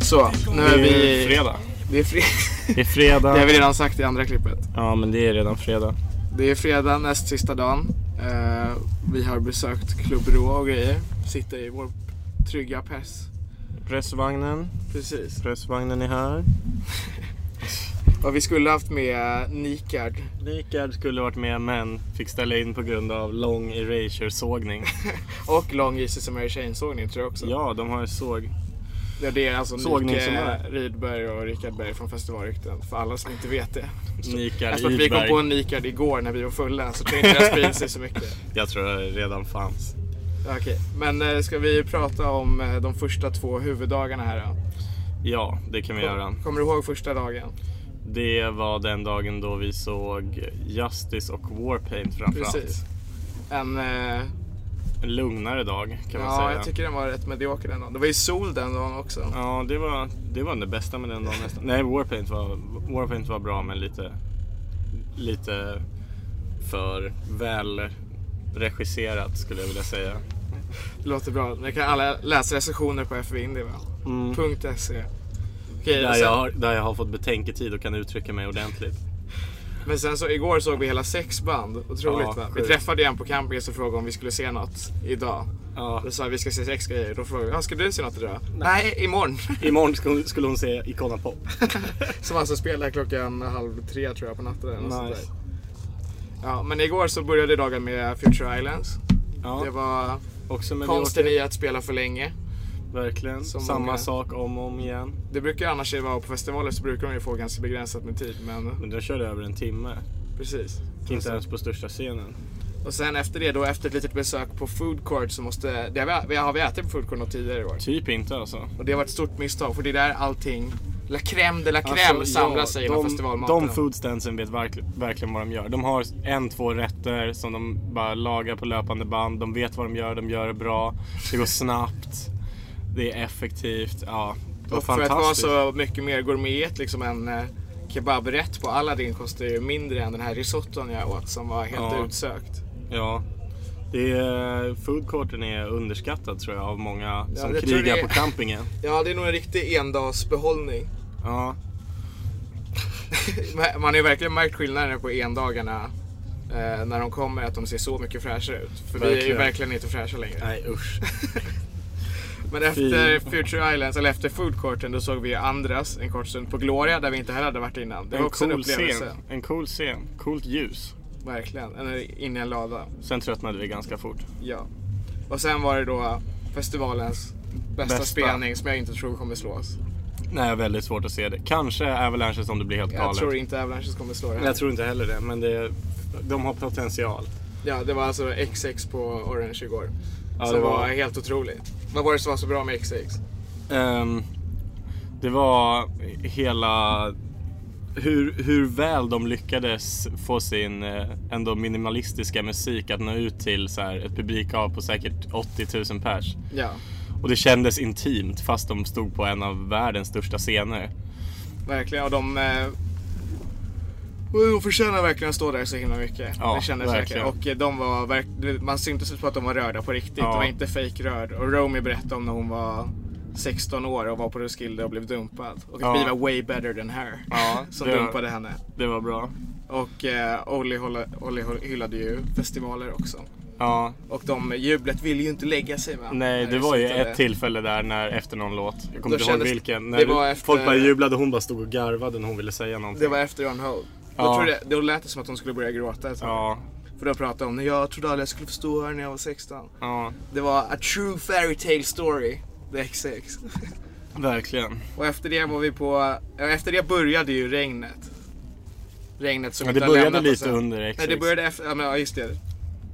Speaker 2: Så, nu
Speaker 4: Det är
Speaker 2: är vi...
Speaker 4: fredag.
Speaker 2: Det är fredag.
Speaker 4: Det är fredag.
Speaker 2: Det har vi redan sagt i andra klippet.
Speaker 4: Ja, men det är redan fredag.
Speaker 2: Det är fredag, näst sista dagen. Eh, vi har besökt Club Rå och grejer. Sitter i vår trygga press.
Speaker 4: Pressvagnen.
Speaker 2: Precis.
Speaker 4: Pressvagnen är här.
Speaker 2: Och vi skulle haft med eh, Nikard.
Speaker 4: Likard skulle varit med men fick ställa in på grund av lång erasure-sågning.
Speaker 2: och lång Jesus Mary Chain-sågning tror jag också.
Speaker 4: Ja, de har ju såg.
Speaker 2: Ja, det är alltså
Speaker 4: Sågning
Speaker 2: Nike
Speaker 4: som är.
Speaker 2: Rydberg och Rickard Berg från Festivalrykten. För alla som inte vet det.
Speaker 4: Nikard
Speaker 2: Jag tror att vi kom
Speaker 4: Rydberg.
Speaker 2: på Nikard igår när vi var fulla så tror jag inte det har spridit sig så mycket.
Speaker 4: Jag tror det redan fanns.
Speaker 2: Okej, men eh, ska vi prata om eh, de första två huvuddagarna här då?
Speaker 4: Ja, det kan vi göra.
Speaker 2: Kommer du ihåg första dagen?
Speaker 4: Det var den dagen då vi såg Justice och Warpaint framförallt.
Speaker 2: Precis. En, eh,
Speaker 4: En lugnare dag kan man
Speaker 2: ja,
Speaker 4: säga.
Speaker 2: jag tycker den var rätt medioker den dagen. Det var ju sol den dagen också.
Speaker 4: Ja, det var, det var det bästa med den dagen nästan. Nej, Warpaint var, Warpaint var bra men lite, lite för väl regisserat skulle jag vilja säga.
Speaker 2: Det låter bra. Ni kan alla läsa recensioner på fvindy va?
Speaker 4: Mm.
Speaker 2: .se. Okej,
Speaker 4: där,
Speaker 2: sen,
Speaker 4: jag har, där jag har fått betänketid och kan uttrycka mig ordentligt.
Speaker 2: Men sen så igår såg vi hela sex band. Otroligt
Speaker 4: Ja,
Speaker 2: va? Vi
Speaker 4: sjukt.
Speaker 2: träffade en på campingen som frågade om vi skulle se något idag. Då sa vi vi ska se sex grejer. Då frågade vi, "Ja, ska du se något idag? Nej, imorgon.
Speaker 4: Imorgon skulle- skulle hon se Icona Pop.
Speaker 2: Som alltså spelar klockan halv tre tror jag på natten. Eller något
Speaker 4: Nice.
Speaker 2: sånt där. Ja, men igår så började dagen med Future Islands.
Speaker 4: Ja.
Speaker 2: Det var
Speaker 4: Också med
Speaker 2: konsten
Speaker 4: Björke.
Speaker 2: i att spela för länge.
Speaker 4: Verkligen.
Speaker 2: Som
Speaker 4: Samma
Speaker 2: många.
Speaker 4: sak om och om igen.
Speaker 2: Det brukar annars vara på festivaler så brukar de ju få ganska begränsat med tid. Men
Speaker 4: Men de körde över en timme.
Speaker 2: precis.
Speaker 4: Inte ens på största scenen.
Speaker 2: Och sen efter det då, efter ett litet besök på Food Court så måste, det har vi, har vi ätit på Food Court något tidigare i år.
Speaker 4: Typ inte alltså.
Speaker 2: Och det var ett stort misstag för det är där allting, la crème de la crème
Speaker 4: Alltså,
Speaker 2: samlar
Speaker 4: ja,
Speaker 2: sig
Speaker 4: de-
Speaker 2: inom festivalmaten.
Speaker 4: De foodstansen vet verkligen, verkligen vad de gör. De har en, två rätter som de bara lagar på löpande band. De vet vad de gör, de gör det bra. Det går snabbt. Det är effektivt. Ja, det var
Speaker 2: och för att vara
Speaker 4: fantastiskt.
Speaker 2: så mycket mer gourmet, liksom en eh, kebabrätt på Aladdin kostar ju mindre än den här risotton jag åt som var helt
Speaker 4: Ja.
Speaker 2: utsökt.
Speaker 4: Ja. Det är, foodcourten är underskattad tror jag av många
Speaker 2: Ja,
Speaker 4: som
Speaker 2: jag tror
Speaker 4: krigar
Speaker 2: det är-
Speaker 4: på campingen.
Speaker 2: Ja, det är nog en riktig endagsbehållning.
Speaker 4: Ja.
Speaker 2: Man har ju verkligen märkt skillnaden på endagarna eh, när de kommer, att de ser så mycket fräschare ut. För vi är ju
Speaker 4: Verkligen.
Speaker 2: verkligen inte fräscha längre.
Speaker 4: Nej usch.
Speaker 2: Men efter Future Islands, eller efter Food Courten, då såg vi ju Andras en kort stund på Gloria där vi inte heller hade varit innan. Det var
Speaker 4: en
Speaker 2: också en
Speaker 4: cool
Speaker 2: upplevelse.
Speaker 4: scen. En cool scen. Coolt ljus.
Speaker 2: Verkligen. Eller in i en lada.
Speaker 4: Sen tröttnade vi ganska fort.
Speaker 2: Ja. Och sen var det då festivalens bästa,
Speaker 4: Bästa.
Speaker 2: spelning som jag inte tror kommer slås.
Speaker 4: Nej, väldigt svårt att se det. Kanske Avalanche som du blir helt
Speaker 2: Jag
Speaker 4: galen.
Speaker 2: tror inte Avalanches kommer slå det här.
Speaker 4: Jag tror inte heller det, men det, de har potential.
Speaker 2: Ja, det var alltså XX på Orange igår.
Speaker 4: Ja,
Speaker 2: som
Speaker 4: det
Speaker 2: var...
Speaker 4: var-
Speaker 2: helt otroligt. Vad var det som var så bra med XX?
Speaker 4: Ehm, det var hela... Hur, hur väl de lyckades få sin eh, ändå minimalistiska musik att nå ut till så här, ett publikav på säkert 80 000 pers.
Speaker 2: Ja.
Speaker 4: Och det kändes intimt fast de stod på en av världens största scener.
Speaker 2: Verkligen. Och de... Eh... De förtjänar verkligen att stå där så himla mycket.
Speaker 4: Ja,
Speaker 2: det kändes verkligen.
Speaker 4: verkligen.
Speaker 2: Och eh, de var verk... man syntes på att de var rörda på riktigt.
Speaker 4: Ja.
Speaker 2: De var inte fake rörd. Och Romy berättade om när hon var 16 år och var på Roskilde och blev dumpad. Och
Speaker 4: Ja.
Speaker 2: Biva Way Better Than Her
Speaker 4: Ja,
Speaker 2: som
Speaker 4: det-
Speaker 2: dumpade henne.
Speaker 4: Det var bra.
Speaker 2: Och eh, Olli, hålla- Olli hyllade ju festivaler också.
Speaker 4: Ja,
Speaker 2: Och de jublet ville ju inte lägga sig va?
Speaker 4: Nej,
Speaker 2: När
Speaker 4: det var ju
Speaker 2: slutade.
Speaker 4: ett tillfälle där när, efter någon låt. Jag
Speaker 2: Då
Speaker 4: kommer inte ihåg
Speaker 2: kändes-
Speaker 4: vilken.
Speaker 2: det
Speaker 4: När
Speaker 2: var efter-
Speaker 4: Folk bara jublade och hon bara stod och garvade när hon ville säga någonting.
Speaker 2: Det var efter On Hold. Då,
Speaker 4: Ja.
Speaker 2: tror jag, då lät det som att hon skulle börja gråta ett tag.
Speaker 4: Ja.
Speaker 2: För då pratade hon om när jag trodde aldrig jag skulle förstå här när jag var 16.
Speaker 4: Ja,
Speaker 2: Det var A True Fairy Tale Story, The XX.
Speaker 4: verkligen.
Speaker 2: och efter det var vi på, ja, efter det började ju regnet. Regnet som
Speaker 4: Ja,
Speaker 2: inte
Speaker 4: det
Speaker 2: har
Speaker 4: började
Speaker 2: lämnat
Speaker 4: lite
Speaker 2: oss än.
Speaker 4: under
Speaker 2: Nej, det
Speaker 4: XX.
Speaker 2: började efter, ja men ja, just det.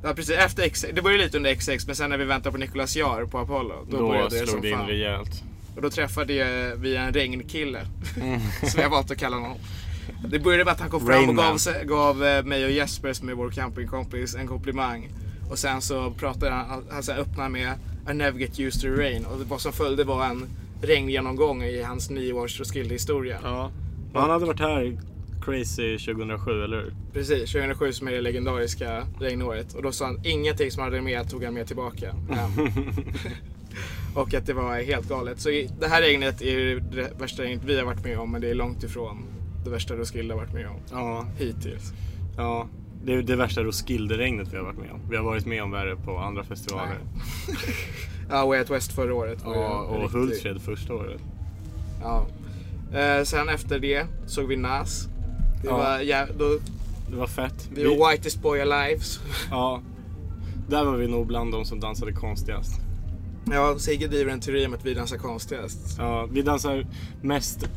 Speaker 2: Ja precis, efter XX. Det började lite under XX men sen när vi väntade på Nicolas Jahr på Apollo. Då,
Speaker 4: Då
Speaker 2: började det
Speaker 4: slog
Speaker 2: som
Speaker 4: det in
Speaker 2: fan.
Speaker 4: rejält.
Speaker 2: Och då träffade jag- vi en regnkille.
Speaker 4: Mm.
Speaker 2: som jag valt att kalla honom. Det började med att han kom fram
Speaker 4: Rain
Speaker 2: och gav,
Speaker 4: Man.
Speaker 2: sig- gav eh, mig och Jesper som är vår campingkompis en komplimang. Och sen så pratade han, han- han så här öppnade med I never get used to the rain. Och vad som följde var en regngenomgång i hans nioårs Roskilde-historia.
Speaker 4: Men Han hade varit här crazy 2007, eller hur?
Speaker 2: Precis, 2007 som är det legendariska regnåret. Och då sa han ingenting som han hade med tog han med tillbaka. Hem. och att det var helt galet. Så i- det här regnet är ju det värsta regnet vi har varit med om men det är långt ifrån det värsta Roskilde har varit med om.
Speaker 4: Ja.
Speaker 2: Hittills.
Speaker 4: Ja. Det är det värsta Roskilde-regnet vi har varit med om. Vi har varit med om värre på andra festivaler.
Speaker 2: Ja, Way Out West förra året. var ju
Speaker 4: Ja, och
Speaker 2: en riktig-
Speaker 4: Hultsfred första året.
Speaker 2: Ja. Eh, sen efter det såg vi Nas. Det,
Speaker 4: Ja.
Speaker 2: var, ja, då,
Speaker 4: det var fett.
Speaker 2: Vi var whitest boy alive.
Speaker 4: Ja. Där var vi nog bland de som dansade konstigast.
Speaker 2: Ja, Sigge driver en teori om att vi dansar konstigast.
Speaker 4: Ja, vi dansar mest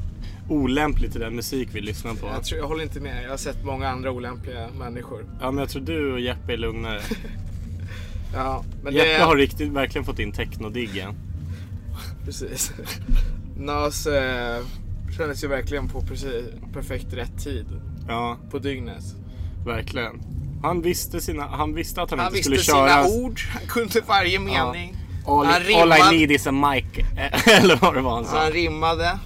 Speaker 4: olämpligt till den musik vi lyssnar på.
Speaker 2: Jag, tror, jag håller inte med. Jag har sett många andra olämpliga människor.
Speaker 4: Ja, men jag tror du och Jeppe är lugnare.
Speaker 2: Ja, men
Speaker 4: Jeppe
Speaker 2: det...
Speaker 4: har riktigt, verkligen fått in technodiggen.
Speaker 2: Precis. Nas eh, kändes ju verkligen på precis, perfekt rätt tid.
Speaker 4: Ja.
Speaker 2: På dygnet.
Speaker 4: Verkligen. Han visste, sina, han visste att han,
Speaker 2: Han
Speaker 4: inte
Speaker 2: visste
Speaker 4: skulle
Speaker 2: sina
Speaker 4: köra...
Speaker 2: ord. Han kunde varje mening.
Speaker 4: All,
Speaker 2: han
Speaker 4: all
Speaker 2: rimmade.
Speaker 4: I need is a mic. eh, Eller vad det var han sa.
Speaker 2: Han rimmade.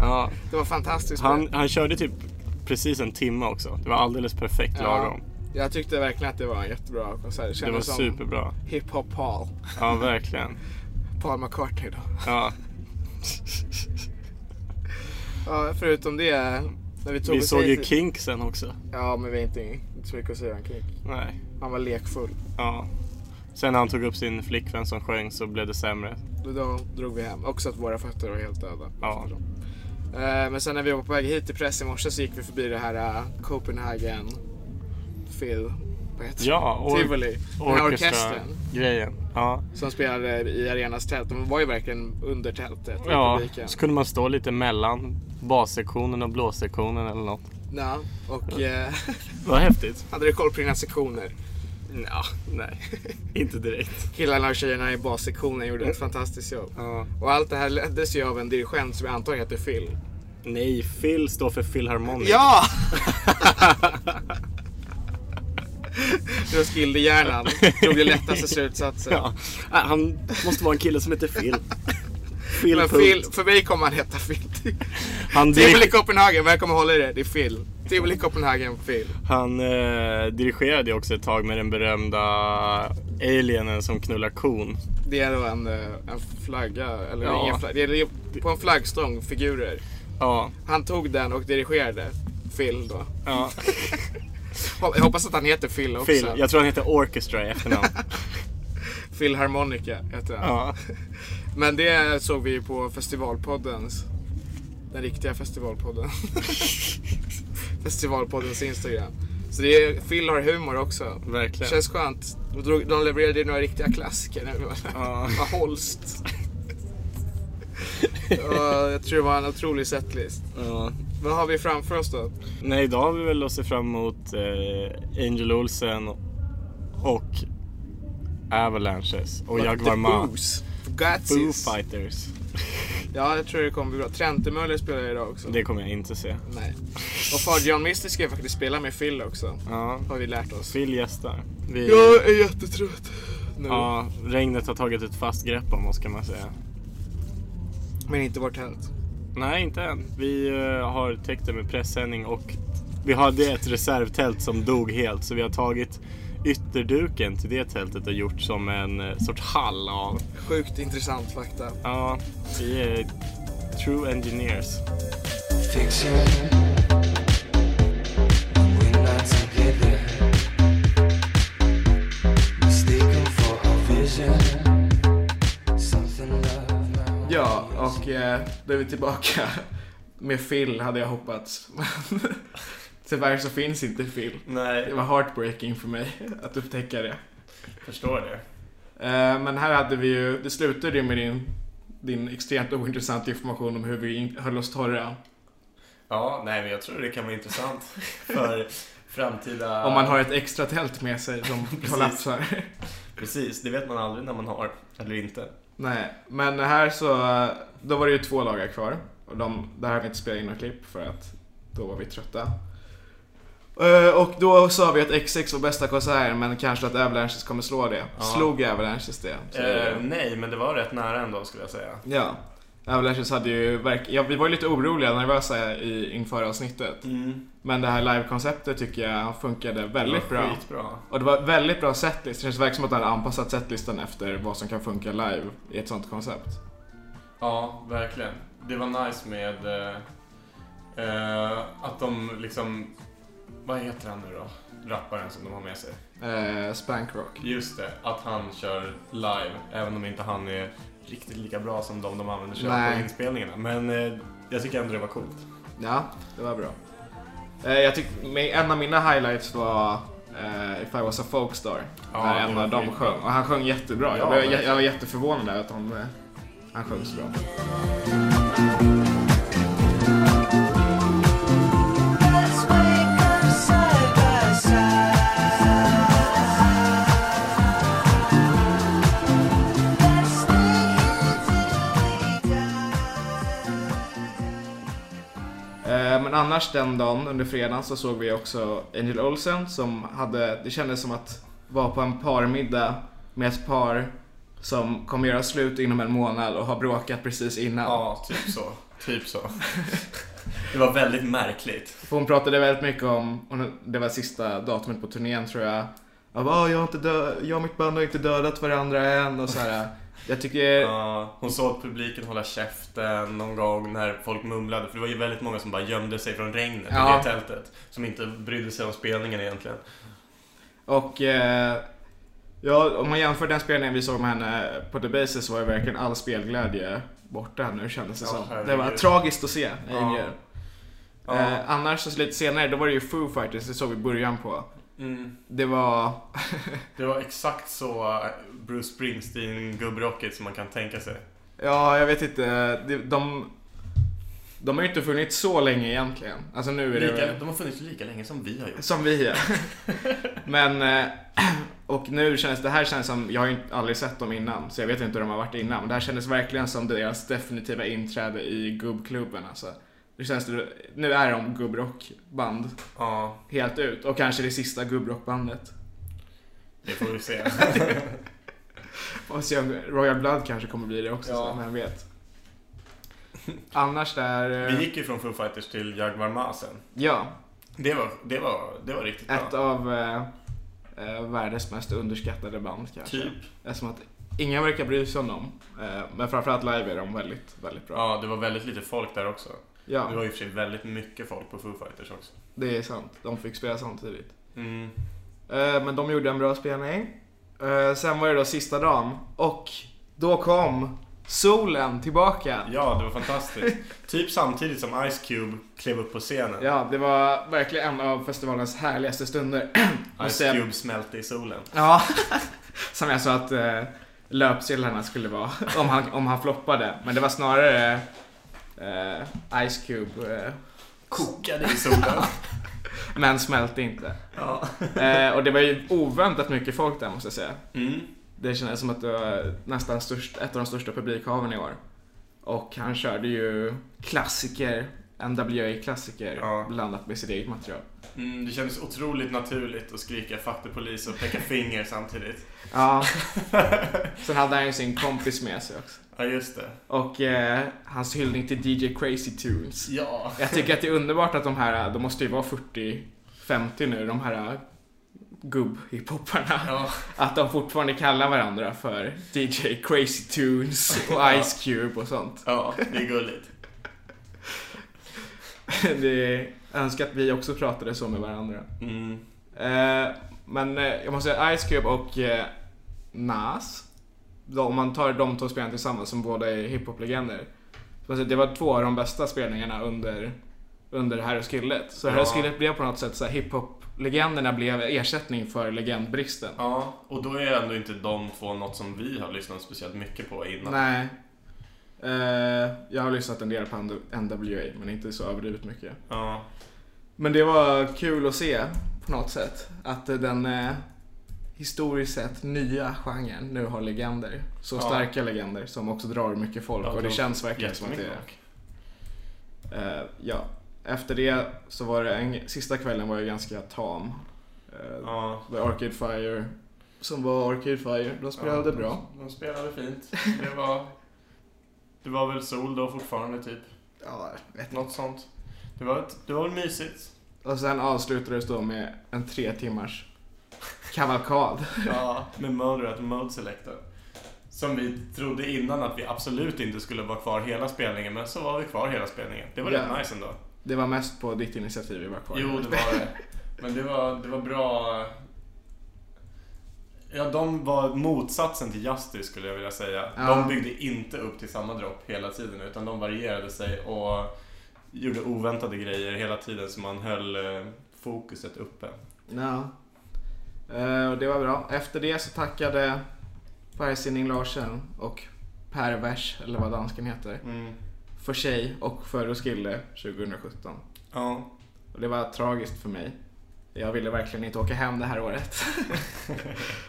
Speaker 4: Ja.
Speaker 2: Det var fantastiskt bra.
Speaker 4: Han, han körde typ precis en timme också. Det var alldeles perfekt lagom.
Speaker 2: Jag tyckte verkligen att det var en jättebra konsert.
Speaker 4: Det var
Speaker 2: kändes som
Speaker 4: superbra.
Speaker 2: Hiphop Paul.
Speaker 4: Ja, verkligen.
Speaker 2: Paul McCartney då.
Speaker 4: Ja.
Speaker 2: Ja, förutom det. När vi tog
Speaker 4: Vi
Speaker 2: oss
Speaker 4: såg
Speaker 2: hit-
Speaker 4: ju Kink sen också.
Speaker 2: Ja, men vi har inte, inte så mycket att säga om Kink.
Speaker 4: Nej.
Speaker 2: Han var lekfull.
Speaker 4: Ja. Sen när han tog upp sin flickvän som sjöng så blev det sämre.
Speaker 2: Då, då drog vi hem. Också att våra fötter var helt döda.
Speaker 4: Ja.
Speaker 2: Eh, men sen när vi var på väg hit till press i morse så gick vi förbi det här eh, Copenhagen Phil. Vad heter det?
Speaker 4: Ja, or-
Speaker 2: Tivoli. Den här orkestern.
Speaker 4: Grejen. Ja.
Speaker 2: Som spelade i arenas tält. De var ju verkligen under tältet. i
Speaker 4: ja.
Speaker 2: publiken.
Speaker 4: Så kunde man stå lite mellan bassektionen och blåssektionen eller något.
Speaker 2: Ja, och... Eh,
Speaker 4: Vad häftigt.
Speaker 2: Hade du koll på dina sektioner?
Speaker 4: Nja, nej. Inte direkt.
Speaker 2: Killarna och tjejerna i bassektionen gjorde
Speaker 4: Mm.
Speaker 2: ett fantastiskt jobb. Och allt det här leddes ju av en dirigent som jag antar heter Phil.
Speaker 4: Nej, Phil står för Philharmonic.
Speaker 2: Ja! Roskildehjärnan drog den lättaste slutsatsen.
Speaker 4: Ja. Ah, Han måste vara en kille som heter Phil. Phil,
Speaker 2: Men
Speaker 4: punkt.
Speaker 2: Phil för mig kommer han heta Phil.
Speaker 4: Han
Speaker 2: Tivoli
Speaker 4: direkt-
Speaker 2: Copenhagen, men jag kommer hålla i det. Det är Phil. Tivoli Copenhagen, Phil.
Speaker 4: Han eh, dirigerade ju också ett tag med den berömda alienen som knullar kon.
Speaker 2: Det är då en, eh, en flagga, eller
Speaker 4: Ja.
Speaker 2: ingen flagga. Det är ju på en flaggstång figurer.
Speaker 4: Ja.
Speaker 2: Han tog den och dirigerade. Phil då.
Speaker 4: Ja.
Speaker 2: jag hoppas att han heter Phil också.
Speaker 4: Phil, jag tror han heter Orchestra i efternamn.
Speaker 2: Phil Harmonica heter han.
Speaker 4: Ja.
Speaker 2: Men det såg vi ju på festivalpoddens. Den riktiga festivalpodden. festivalpoddens Instagram. Så det är, Phil har humor också.
Speaker 4: Verkligen.
Speaker 2: Känns skönt. De drog- De levererade ju några riktiga klassiker nu. Ja. Holst. Ja, jag tror det var en otrolig setlist.
Speaker 4: Ja.
Speaker 2: Vad har vi framför oss då?
Speaker 4: Nej, idag har vi väl att se fram emot eh, Angel Olsen och Avalanches och
Speaker 2: But
Speaker 4: Jaguar
Speaker 2: the
Speaker 4: Ma.
Speaker 2: Boos, for God's
Speaker 4: Foo
Speaker 2: sakes.
Speaker 4: Fighters.
Speaker 2: Ja, jag tror det kommer bli bra. Trentemöller spelar idag också.
Speaker 4: Det kommer jag inte se.
Speaker 2: Nej. Och Far John Mister ska ju faktiskt spela med Phil också.
Speaker 4: Ja.
Speaker 2: Har vi lärt oss.
Speaker 4: Phil gästar. Vi...
Speaker 2: Jag är jättetrött nu.
Speaker 4: Ja, regnet har tagit ett fast grepp om oss kan man säga.
Speaker 2: Men inte vårt tält.
Speaker 4: Nej, inte än. Vi eh, har täckt det med pressändning och vi hade ett reservtält som dog helt så vi har tagit
Speaker 17: ytterduken till det tältet är gjort som en eh, sorts hall av.
Speaker 18: Sjukt intressant fakta.
Speaker 17: Ja, vi är true engineers.
Speaker 2: Ja, och eh, då är vi tillbaka. Med Phil hade jag hoppats. Men Tyvärr så finns inte Phil.
Speaker 4: Nej.
Speaker 2: Det var heartbreaking för mig att upptäcka det.
Speaker 4: Förstår det.
Speaker 2: Eh, Men här hade vi ju, det slutade ju med din, din extremt ointressanta information om hur vi in- höll oss torra.
Speaker 4: Ja, nej men jag tror det kan vara intressant för framtida...
Speaker 2: Om man har ett extra tält med sig som kollapsar.
Speaker 4: Precis, det vet man aldrig när man har, eller inte.
Speaker 2: Nej, men här så, eh, då var det ju två lagar kvar. Och de, där har vi inte spelat in några klipp för att då var vi trötta. Eh, Och då sa vi att XX var bästa konsert men kanske att Avalanches kommer slå det.
Speaker 4: Ja.
Speaker 2: Slog Avalanches det? Så-
Speaker 4: Eh, nej, men det var rätt nära ändå skulle jag säga.
Speaker 2: Ja. Avalanches hade ju verk... ja, vi var ju lite oroliga, nervösa i, inför avsnittet.
Speaker 4: Mm.
Speaker 2: Men det här livekonceptet tycker jag funkade väldigt
Speaker 4: Det var
Speaker 2: bra.
Speaker 4: skitbra.
Speaker 2: Och det var väldigt bra setlist. Det känns verkligen som att han har anpassat setlistan efter vad som kan funka live i ett sånt koncept.
Speaker 4: Ja, verkligen. Det var nice med eh, eh, att de liksom... Vad heter han nu då? Rapparen som de har med sig.
Speaker 2: Eh, Spankrock.
Speaker 4: Just det, att han kör live. Även om inte han är riktigt lika bra som de de använder sig av
Speaker 2: Nej.
Speaker 4: på inspelningarna. Men eh, jag tycker ändå det var coolt.
Speaker 2: Ja, det var bra. Eh, jag tyck, mi- en av mina highlights var eh, If I was a folkstar.
Speaker 4: Ja,
Speaker 2: när
Speaker 4: det
Speaker 2: en
Speaker 4: var
Speaker 2: av dem
Speaker 4: fint.
Speaker 2: sjöng. Och han sjöng jättebra.
Speaker 4: Ja,
Speaker 2: jag, blev, jag,
Speaker 4: verkligen.
Speaker 2: jag var jätteförvånad över att han, eh, han sjöng så bra. Eh, Men annars den dagen under fredagen så såg vi också Angel Olsen som hade, det kändes som att vara på en parmiddag med ett par som kommer göra slut inom en månad och har bråkat precis innan.
Speaker 4: Ja, typ så. Typ så. Det var väldigt märkligt.
Speaker 2: För hon pratade väldigt mycket om, hon- det var sista datumet på turnén tror jag. Jag, bara, "Ah, jag, har inte dö- jag och mitt band har inte dödat varandra än och så här. Jag tycker...
Speaker 4: Ja, hon såg att publiken hålla käften någon gång när folk mumlade. För det var ju väldigt många som bara gömde sig från regnet
Speaker 2: Ja.
Speaker 4: i det tältet. Som inte brydde sig om spelningen egentligen.
Speaker 2: Och eh, ja, om man jämför den spelningen vi såg med henne på The Basis så var ju verkligen all spelglädje borta nu kändes det
Speaker 4: Ja,
Speaker 2: som. Det
Speaker 4: herregud.
Speaker 2: var tragiskt att se.
Speaker 4: Ja.
Speaker 2: Ja.
Speaker 4: Ja.
Speaker 2: Eh, annars så lite senare, då var det ju Foo Fighters, det såg vi början på.
Speaker 4: Mm.
Speaker 2: Det var...
Speaker 4: Det var exakt så eh, Bruce Springsteen-gubbrocket som man kan tänka sig.
Speaker 2: Ja, jag vet inte. De, de, de har ju inte funnits så länge egentligen. Alltså nu är det
Speaker 4: Lika,
Speaker 2: väl-
Speaker 4: de har funnits lika länge som vi har gjort.
Speaker 2: Som vi är. Men, eh, och nu känns det här känns som, jag har ju inte- aldrig sett dem innan så jag vet inte hur de har varit innan. Men det här kändes verkligen som deras definitiva inträde i gubbklubben alltså. Det känns, det- nu är de gubbrockband.
Speaker 4: Ja.
Speaker 2: Helt ut. Och kanske det sista gubbrockbandet.
Speaker 4: Det får vi se.
Speaker 2: Och se om Royal Blood kanske kommer bli det också,
Speaker 4: Ja.
Speaker 2: så vem vet. Annars där... eh,
Speaker 4: vi gick ju från Foo Fighters till Jaguar Ma sen.
Speaker 2: Ja.
Speaker 4: Det var, det var, det var riktigt
Speaker 2: Ett
Speaker 4: bra.
Speaker 2: av eh, eh, världens mest underskattade band kanske.
Speaker 4: Typ.
Speaker 2: Eftersom att ingen verkar bry sig om dem. Eh, men framförallt live är de väldigt, väldigt bra.
Speaker 4: Ja, det var väldigt lite folk där också.
Speaker 2: Ja.
Speaker 4: Det var i och för sig väldigt mycket folk på Foo Fighters också.
Speaker 2: Det är sant. De fick spela samtidigt.
Speaker 4: Mm.
Speaker 2: Eh, men de gjorde en bra spelning. Eh, sen var det då sista dagen och då kom solen tillbaka.
Speaker 4: Ja, det var fantastiskt. typ samtidigt som Ice Cube klev upp på scenen.
Speaker 2: Ja, det var verkligen en av festivalens härligaste stunder. Och
Speaker 4: Ice
Speaker 2: sen-
Speaker 4: Cube smälte i solen.
Speaker 2: Ja, som jag sa att eh, löpsedlarna skulle vara om han, om han floppade. Men det var snarare eh, Ice Cube. Eh,
Speaker 4: Kokade i solen.
Speaker 2: Men smälte inte.
Speaker 4: Ja.
Speaker 2: Eh, och det var ju oväntat mycket folk där måste jag säga.
Speaker 4: Mm.
Speaker 2: Det kändes som att det var nästan störst, ett av de största publikhaven i år. Och han körde ju klassiker, NWA-klassiker blandat med sitt eget material.
Speaker 4: Mm, det kändes otroligt naturligt att skrika fuck the police och peka finger samtidigt.
Speaker 2: Ja. Sen hade han ju sin kompis med sig också.
Speaker 4: Ja, just det.
Speaker 2: Och eh, hans hyllning till DJ Crazy Tunes.
Speaker 4: Ja.
Speaker 2: Jag tycker att det är underbart att de här, de måste ju vara 40-50 nu, de här gubb-hiphopparna. Att de fortfarande kallar varandra för DJ Crazy Tunes och
Speaker 4: Ja.
Speaker 2: Ice Cube och sånt.
Speaker 4: Ja, det är gulligt.
Speaker 2: det är önskat att vi också pratade så med varandra. Eh, men eh, jag måste säga Ice Cube och eh, Nas. Då, om man tar de två spelarna tillsammans som båda är hiphop-legender. Så alltså, Det var två av de bästa spelningarna under, under Harry Skillet. Så Harry
Speaker 4: Ja.
Speaker 2: Skillet blev på något sätt så här hiphop-legenderna blev ersättning för legendbristen.
Speaker 4: Ja, och då är ändå inte de två något som vi har lyssnat speciellt mycket på innan.
Speaker 2: Nej. Eh, jag har lyssnat en del på NWA men inte så överdrivet mycket.
Speaker 4: Ja.
Speaker 2: Men det var kul att se på något sätt. Att eh, den eh, historiskt sett nya genren nu har legender. Så
Speaker 4: Ja.
Speaker 2: starka legender som också drar mycket folk
Speaker 4: Ja,
Speaker 2: och det
Speaker 4: det
Speaker 2: känns verkligen som att det
Speaker 4: jättemycket
Speaker 2: är... Eh, ja. Efter det så var det en... Sista kvällen var ju ganska tam. Uh,
Speaker 4: Ja.
Speaker 2: Det var Arcade Fire som var Arcade Fire. De spelade
Speaker 4: Ja, de-
Speaker 2: bra.
Speaker 4: De spelade fint. Det var, det var väl sol då fortfarande typ.
Speaker 2: Ja, vet
Speaker 4: Något sånt. Det var, ett, det var väl mysigt.
Speaker 2: Och sen avslutades då med en tre timmars kavalkad.
Speaker 4: Ja, med Moderat Mode Selector. Som vi trodde innan att vi absolut inte skulle vara kvar hela spelningen, men så var vi kvar hela spelningen. Det var
Speaker 2: Ja.
Speaker 4: rätt nice ändå.
Speaker 2: Det var mest på ditt initiativ vi var kvar.
Speaker 4: Jo, det var det. Men det var, det var bra. Ja, de var motsatsen till Justice skulle jag vilja säga.
Speaker 2: Ja.
Speaker 4: De byggde inte upp till samma dropp hela tiden utan de varierade sig och gjorde oväntade grejer hela tiden så man höll eh, fokuset uppe.
Speaker 2: Ja. Eh, och det var bra. Efter det så tackade Per Sinding Larsen och Pervers, eller vad dansken heter,
Speaker 4: Mm.
Speaker 2: för sig och för Roskilde 2017.
Speaker 4: Ja.
Speaker 2: Och det var tragiskt för mig. Jag ville verkligen inte åka hem det här året.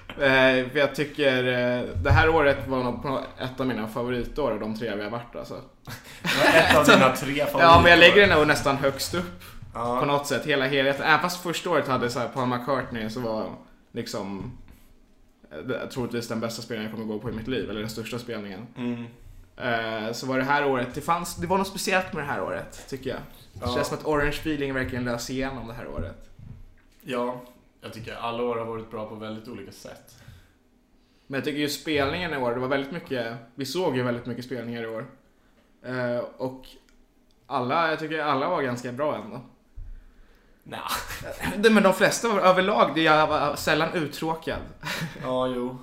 Speaker 2: Eh, för jag tycker eh, det här året var nog på- ett av mina favoritår av de tre vi har varit alltså.
Speaker 4: ett av dina tre
Speaker 2: Ja, men jag
Speaker 4: favoritår.
Speaker 2: lägger det nog nästan högst upp. På något sätt, hela helheten. Även fast första året hade så här Paul McCartney så var liksom eh, troligtvis den bästa spelningen jag kommer gå på i mitt liv, eller den största spelningen.
Speaker 4: Mm.
Speaker 2: Eh, Så var det här året, det, fanns, det var något speciellt med det här året, tycker jag. Det
Speaker 4: Ja.
Speaker 2: känns som att Orange Feeling verkligen lös igenom det här året.
Speaker 4: Ja, jag tycker alla år har varit bra på väldigt olika sätt.
Speaker 2: Men jag tycker ju spelningen i år, det var väldigt mycket, vi såg ju väldigt mycket spelningar i år. Eh, Och alla, jag tycker alla var ganska bra ändå.
Speaker 4: Nja.
Speaker 2: Det- Men de flesta var överlag, det- jag var sällan uttråkad.
Speaker 4: Ja, jo.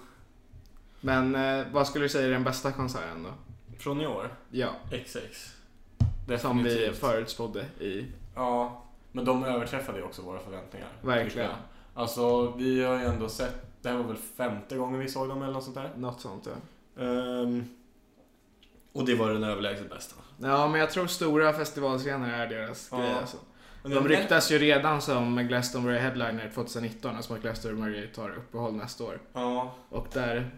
Speaker 2: Men eh, vad skulle du säga är den bästa konserten då?
Speaker 4: Från i år?
Speaker 2: Ja.
Speaker 4: XX.
Speaker 2: Som vi
Speaker 4: Definitivt.
Speaker 2: förutspådde i.
Speaker 4: Ja, men de överträffade ju också våra förväntningar.
Speaker 2: Verkligen.
Speaker 4: tycker jag. Alltså, vi har ju ändå sett, det här var väl femte gången vi såg dem eller något sånt där.
Speaker 2: Något sånt ja.
Speaker 4: Ehm, och det var den överlägset bästa.
Speaker 2: Ja, men jag tror stora festivalscener är deras
Speaker 4: Ja.
Speaker 2: grej alltså.
Speaker 4: Men
Speaker 2: De
Speaker 4: den-
Speaker 2: ryktas ju redan som Glastonbury Headliner 2019, alltså att Glastonbury tar uppehåll nästa år.
Speaker 4: Ja.
Speaker 2: Och där...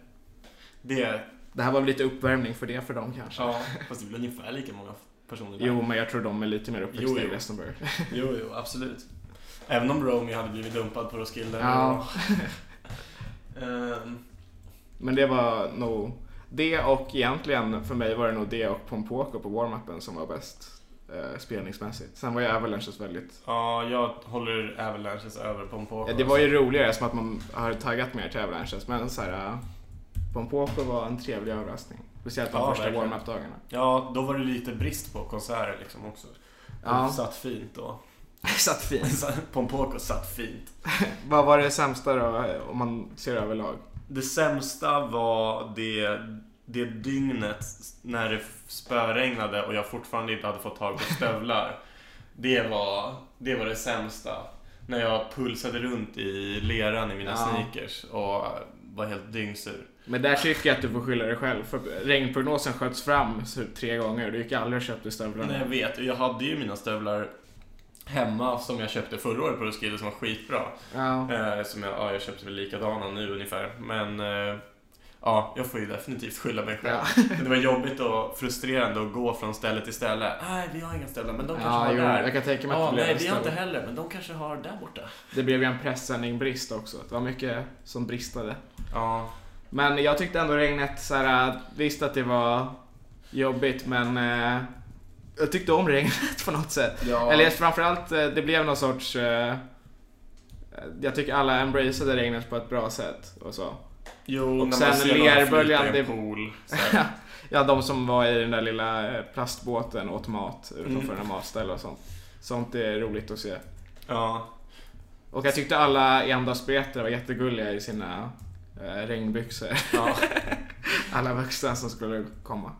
Speaker 4: Det-
Speaker 2: det här var väl lite uppvärmning för det för dem kanske.
Speaker 4: Ja, fast det blir ungefär lika många personer där.
Speaker 2: Jo, men jag tror de är lite mer
Speaker 4: Jo,
Speaker 2: uppväxta i
Speaker 4: jo.
Speaker 2: Glastonbury.
Speaker 4: Jo, jo, absolut. Även om Romeo hade blivit dumpad på Roskilde.
Speaker 2: Ja.
Speaker 4: Ehm,
Speaker 2: Men det var nog det och egentligen för mig var det nog det och Pompoko på warm-upen som var bäst eh, spelningsmässigt. Sen var ju Avalanches väldigt...
Speaker 4: ja, jag håller Avalanches över Pompoko.
Speaker 2: Ja, det var ju roligare som att man har taggat mer till Avalanches men så här, eh, Pompoko var en trevlig överraskning. Speciellt de
Speaker 4: Ja,
Speaker 2: första
Speaker 4: verkligen.
Speaker 2: warm-up-dagarna.
Speaker 4: alltså. Ja, då var det lite brist på konserter liksom också.
Speaker 2: Ja.
Speaker 4: Det satt fint då.
Speaker 2: satt fint.
Speaker 4: Pompoko satt fint.
Speaker 2: Vad var det sämsta då om man ser överlag?
Speaker 4: Det sämsta var det, det dygnet när det spöregnade och jag fortfarande inte hade fått tag på stövlar. Det var det, var det sämsta. När jag pulsade runt i leran i mina
Speaker 2: Ja.
Speaker 4: sneakers och var helt dyngsur.
Speaker 2: Men där tycker jag att du får skylla dig själv för regnprognosen sköts fram så tre gånger och du gick aldrig och köpte stövlarna.
Speaker 4: Nej, jag vet. Jag hade ju mina stövlar hemma som jag köpte förra året på Roskilde som var skitbra.
Speaker 2: Ja.
Speaker 4: Eh, som jag, ja, jag köpte väl likadana nu ungefär. Men eh, ja, jag får ju definitivt skylla mig själv. Men det var jobbigt och frustrerande att gå från ställe till ställe. Nej, vi har inga ställen, men de kanske
Speaker 2: Ja,
Speaker 4: har
Speaker 2: jo,
Speaker 4: där.
Speaker 2: jag kan tänka mig att
Speaker 4: ja,
Speaker 2: det blir
Speaker 4: Nej,
Speaker 2: en
Speaker 4: vi har inte
Speaker 2: ställe.
Speaker 4: heller, men de kanske har där borta.
Speaker 2: Det blev ju en pressändningbrist också. Det var mycket som bristade.
Speaker 4: Ja.
Speaker 2: Men jag tyckte ändå regnet, så här, äh, visst att det var jobbigt men eh, jag tyckte om regnet på något sätt.
Speaker 4: Ja.
Speaker 2: äh, Eller framförallt, eh, det blev någon sorts eh, äh, Jag tycker alla embraceade regnet på ett bra sätt och så.
Speaker 4: Jo,
Speaker 2: och
Speaker 4: när
Speaker 2: sen
Speaker 4: man ser någon
Speaker 2: lerböljan.
Speaker 4: flyta i en
Speaker 2: det-
Speaker 4: pool, så här.
Speaker 2: ja, de som var i den där lilla eh, plastbåten och åt mat utanför
Speaker 4: Mm.
Speaker 2: mm. matställe och sånt. Sånt är roligt att se.
Speaker 4: Ja.
Speaker 2: Och jag tyckte alla endagsbiljetter var jättegulliga i sina eh, regnbyxor. alla vuxna som skulle komma.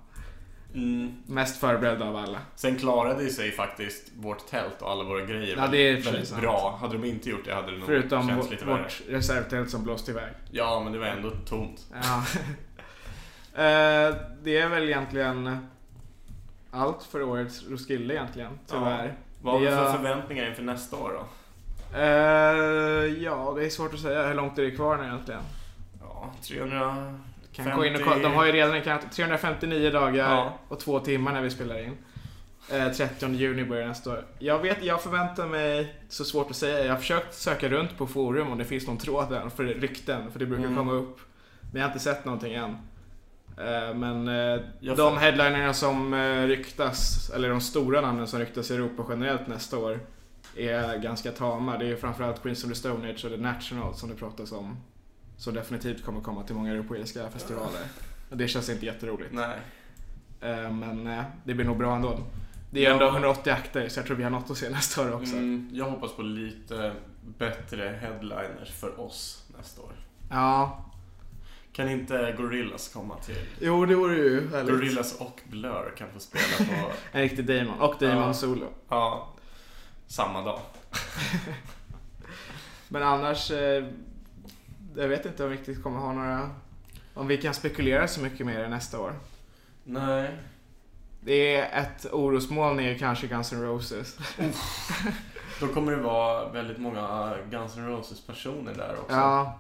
Speaker 2: Mest förberedda av alla.
Speaker 4: Mm. Sen klarade ju sig faktiskt vårt tält och alla våra grejer
Speaker 2: Ja, det är
Speaker 4: väldigt
Speaker 2: precis sant.
Speaker 4: bra. Hade de inte gjort det hade det nog
Speaker 2: Förutom
Speaker 4: känts
Speaker 2: vår-
Speaker 4: lite värre.
Speaker 2: vårt reservtält som blåste iväg.
Speaker 4: Ja, men det var ändå tomt.
Speaker 2: Ja. Eh, det är väl egentligen allt för årets Roskilde egentligen, tyvärr.
Speaker 4: Ja. Vad har vi för
Speaker 2: Jag-
Speaker 4: förväntningar inför nästa år då?
Speaker 2: Eh, ja, det är svårt att säga. Hur långt är det kvar nu egentligen?
Speaker 4: Ja, 300...
Speaker 2: Kan gå in och kolla. De har ju redan en kant- 359 dagar
Speaker 4: Ja.
Speaker 2: och två timmar när vi spelar in. Eh, 30 juni börjar nästa år. Jag vet, jag förväntar mig, så svårt att säga, jag har försökt söka runt på forum om det finns någon tråd där för rykten, för det brukar
Speaker 4: Mm.
Speaker 2: komma upp. Men jag har inte sett någonting än. Eh, Men eh,
Speaker 4: Jag
Speaker 2: de
Speaker 4: får-
Speaker 2: headlinerna som eh, ryktas, eller de stora namnen som ryktas i Europa generellt nästa år, är ganska tama. Det är framförallt Queens of the Stone Age och The National som det pratas om. Som definitivt kommer komma till många europeiska festivaler. Och det känns inte jätteroligt.
Speaker 4: Nej.
Speaker 2: Men eh, det blir nog bra ändå. Det är ju
Speaker 4: Ja.
Speaker 2: ändå 180 akter så jag tror vi har något att se nästa år också.
Speaker 4: Mm, jag hoppas på lite bättre headliners för oss nästa år.
Speaker 2: Ja.
Speaker 4: Kan inte Gorillas komma till?
Speaker 2: Jo, det vore ju härligt.
Speaker 4: Gorillas och Blur kan få spela på...
Speaker 2: En riktig Damon. Och Damon
Speaker 4: Ja.
Speaker 2: solo.
Speaker 4: Ja, samma dag.
Speaker 2: Men annars, eh, jag vet inte om vi riktigt kommer ha några... Om vi kan spekulera så mycket mer nästa år.
Speaker 4: Nej.
Speaker 2: Det är ett orosmoln är ju kanske Guns N' Roses.
Speaker 4: Då kommer det vara väldigt många Guns N' Roses-personer där också.
Speaker 2: Ja,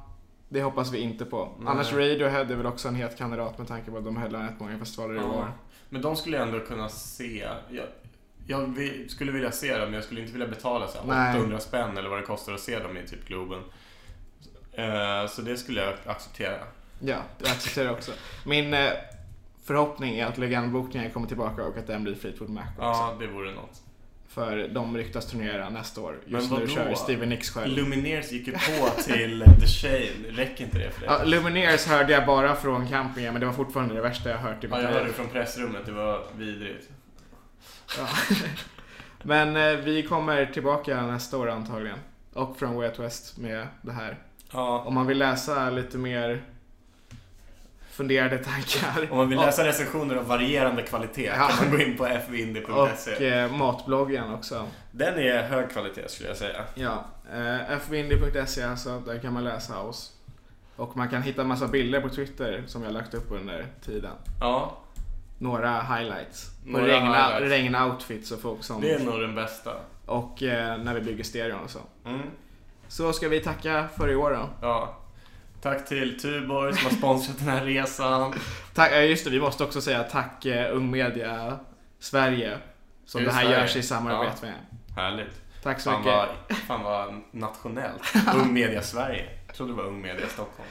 Speaker 2: det hoppas vi inte på.
Speaker 4: Nej.
Speaker 2: Annars Radiohead är väl också en het kandidat med tanke på att de headlar rätt många festivaler i
Speaker 4: Ja.
Speaker 2: år.
Speaker 4: Men de skulle jag ändå kunna se. Jag, jag vi, skulle vilja se dem, men jag skulle inte vilja betala så här,
Speaker 2: Nej.
Speaker 4: 800 spänn eller vad det kostar att se dem i typ Globen. Eh, Så det skulle jag acceptera.
Speaker 2: Ja, jag accepterar det också. Min eh, förhoppning är att legendbokningen kommer tillbaka och att den blir Fleetwood Mac också.
Speaker 4: Ja, det vore något.
Speaker 2: För de ryktas turnera nästa år. Just nu kör Steven Nicks själv.
Speaker 4: Lumineers gick ju på till The Shane. Räcker inte det för dig?
Speaker 2: Ja, Lumineers hörde jag bara från campingen men det var fortfarande det värsta jag hört i mitt
Speaker 4: Ja, jag
Speaker 2: liv.
Speaker 4: hörde det från pressrummet. Det var vidrigt.
Speaker 2: Ja. Men eh, vi kommer tillbaka nästa år antagligen. Och från Way Out West med det här.
Speaker 4: Ja.
Speaker 2: Om man vill läsa lite mer funderade tankar.
Speaker 4: Om man vill läsa
Speaker 2: Och-
Speaker 4: recensioner av varierande kvalitet
Speaker 2: Ja.
Speaker 4: kan man gå in på fvindy.se.
Speaker 2: Och eh, matbloggen också.
Speaker 4: Den är hög kvalitet skulle jag säga.
Speaker 2: Ja, eh, fvindy.se alltså, där kan man läsa oss. Och man kan hitta massa bilder på Twitter som jag lagt upp under tiden.
Speaker 4: Ja.
Speaker 2: Några highlights.
Speaker 4: Några
Speaker 2: och regna,
Speaker 4: highlights.
Speaker 2: regna outfits och folk som...
Speaker 4: Det är nog den bästa.
Speaker 2: Och eh, när vi bygger stereon och så.
Speaker 4: Mm.
Speaker 2: Så ska vi tacka för i år då.
Speaker 4: Ja. Tack till Tuborg som har sponsrat den här resan.
Speaker 2: Tack, ja, just det, vi måste också säga tack eh, Ung Media Sverige. Som
Speaker 4: Är
Speaker 2: det här
Speaker 4: Sverige?
Speaker 2: görs i samarbete
Speaker 4: Ja.
Speaker 2: med.
Speaker 4: Härligt.
Speaker 2: Tack så
Speaker 4: fan
Speaker 2: mycket.
Speaker 4: Vad, fan vad nationellt. Ung Media Sverige. Jag trodde det var Ung Media Stockholm.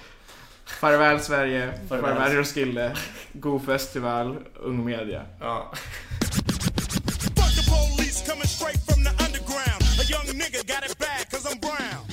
Speaker 2: Farväl Sverige,
Speaker 4: Farväl.
Speaker 2: farväl, farväl Roskilde, god festival, Ung Media.
Speaker 4: Ja.
Speaker 19: Fuck the police coming straight from the underground. A young nigga got it bad cause I'm brown.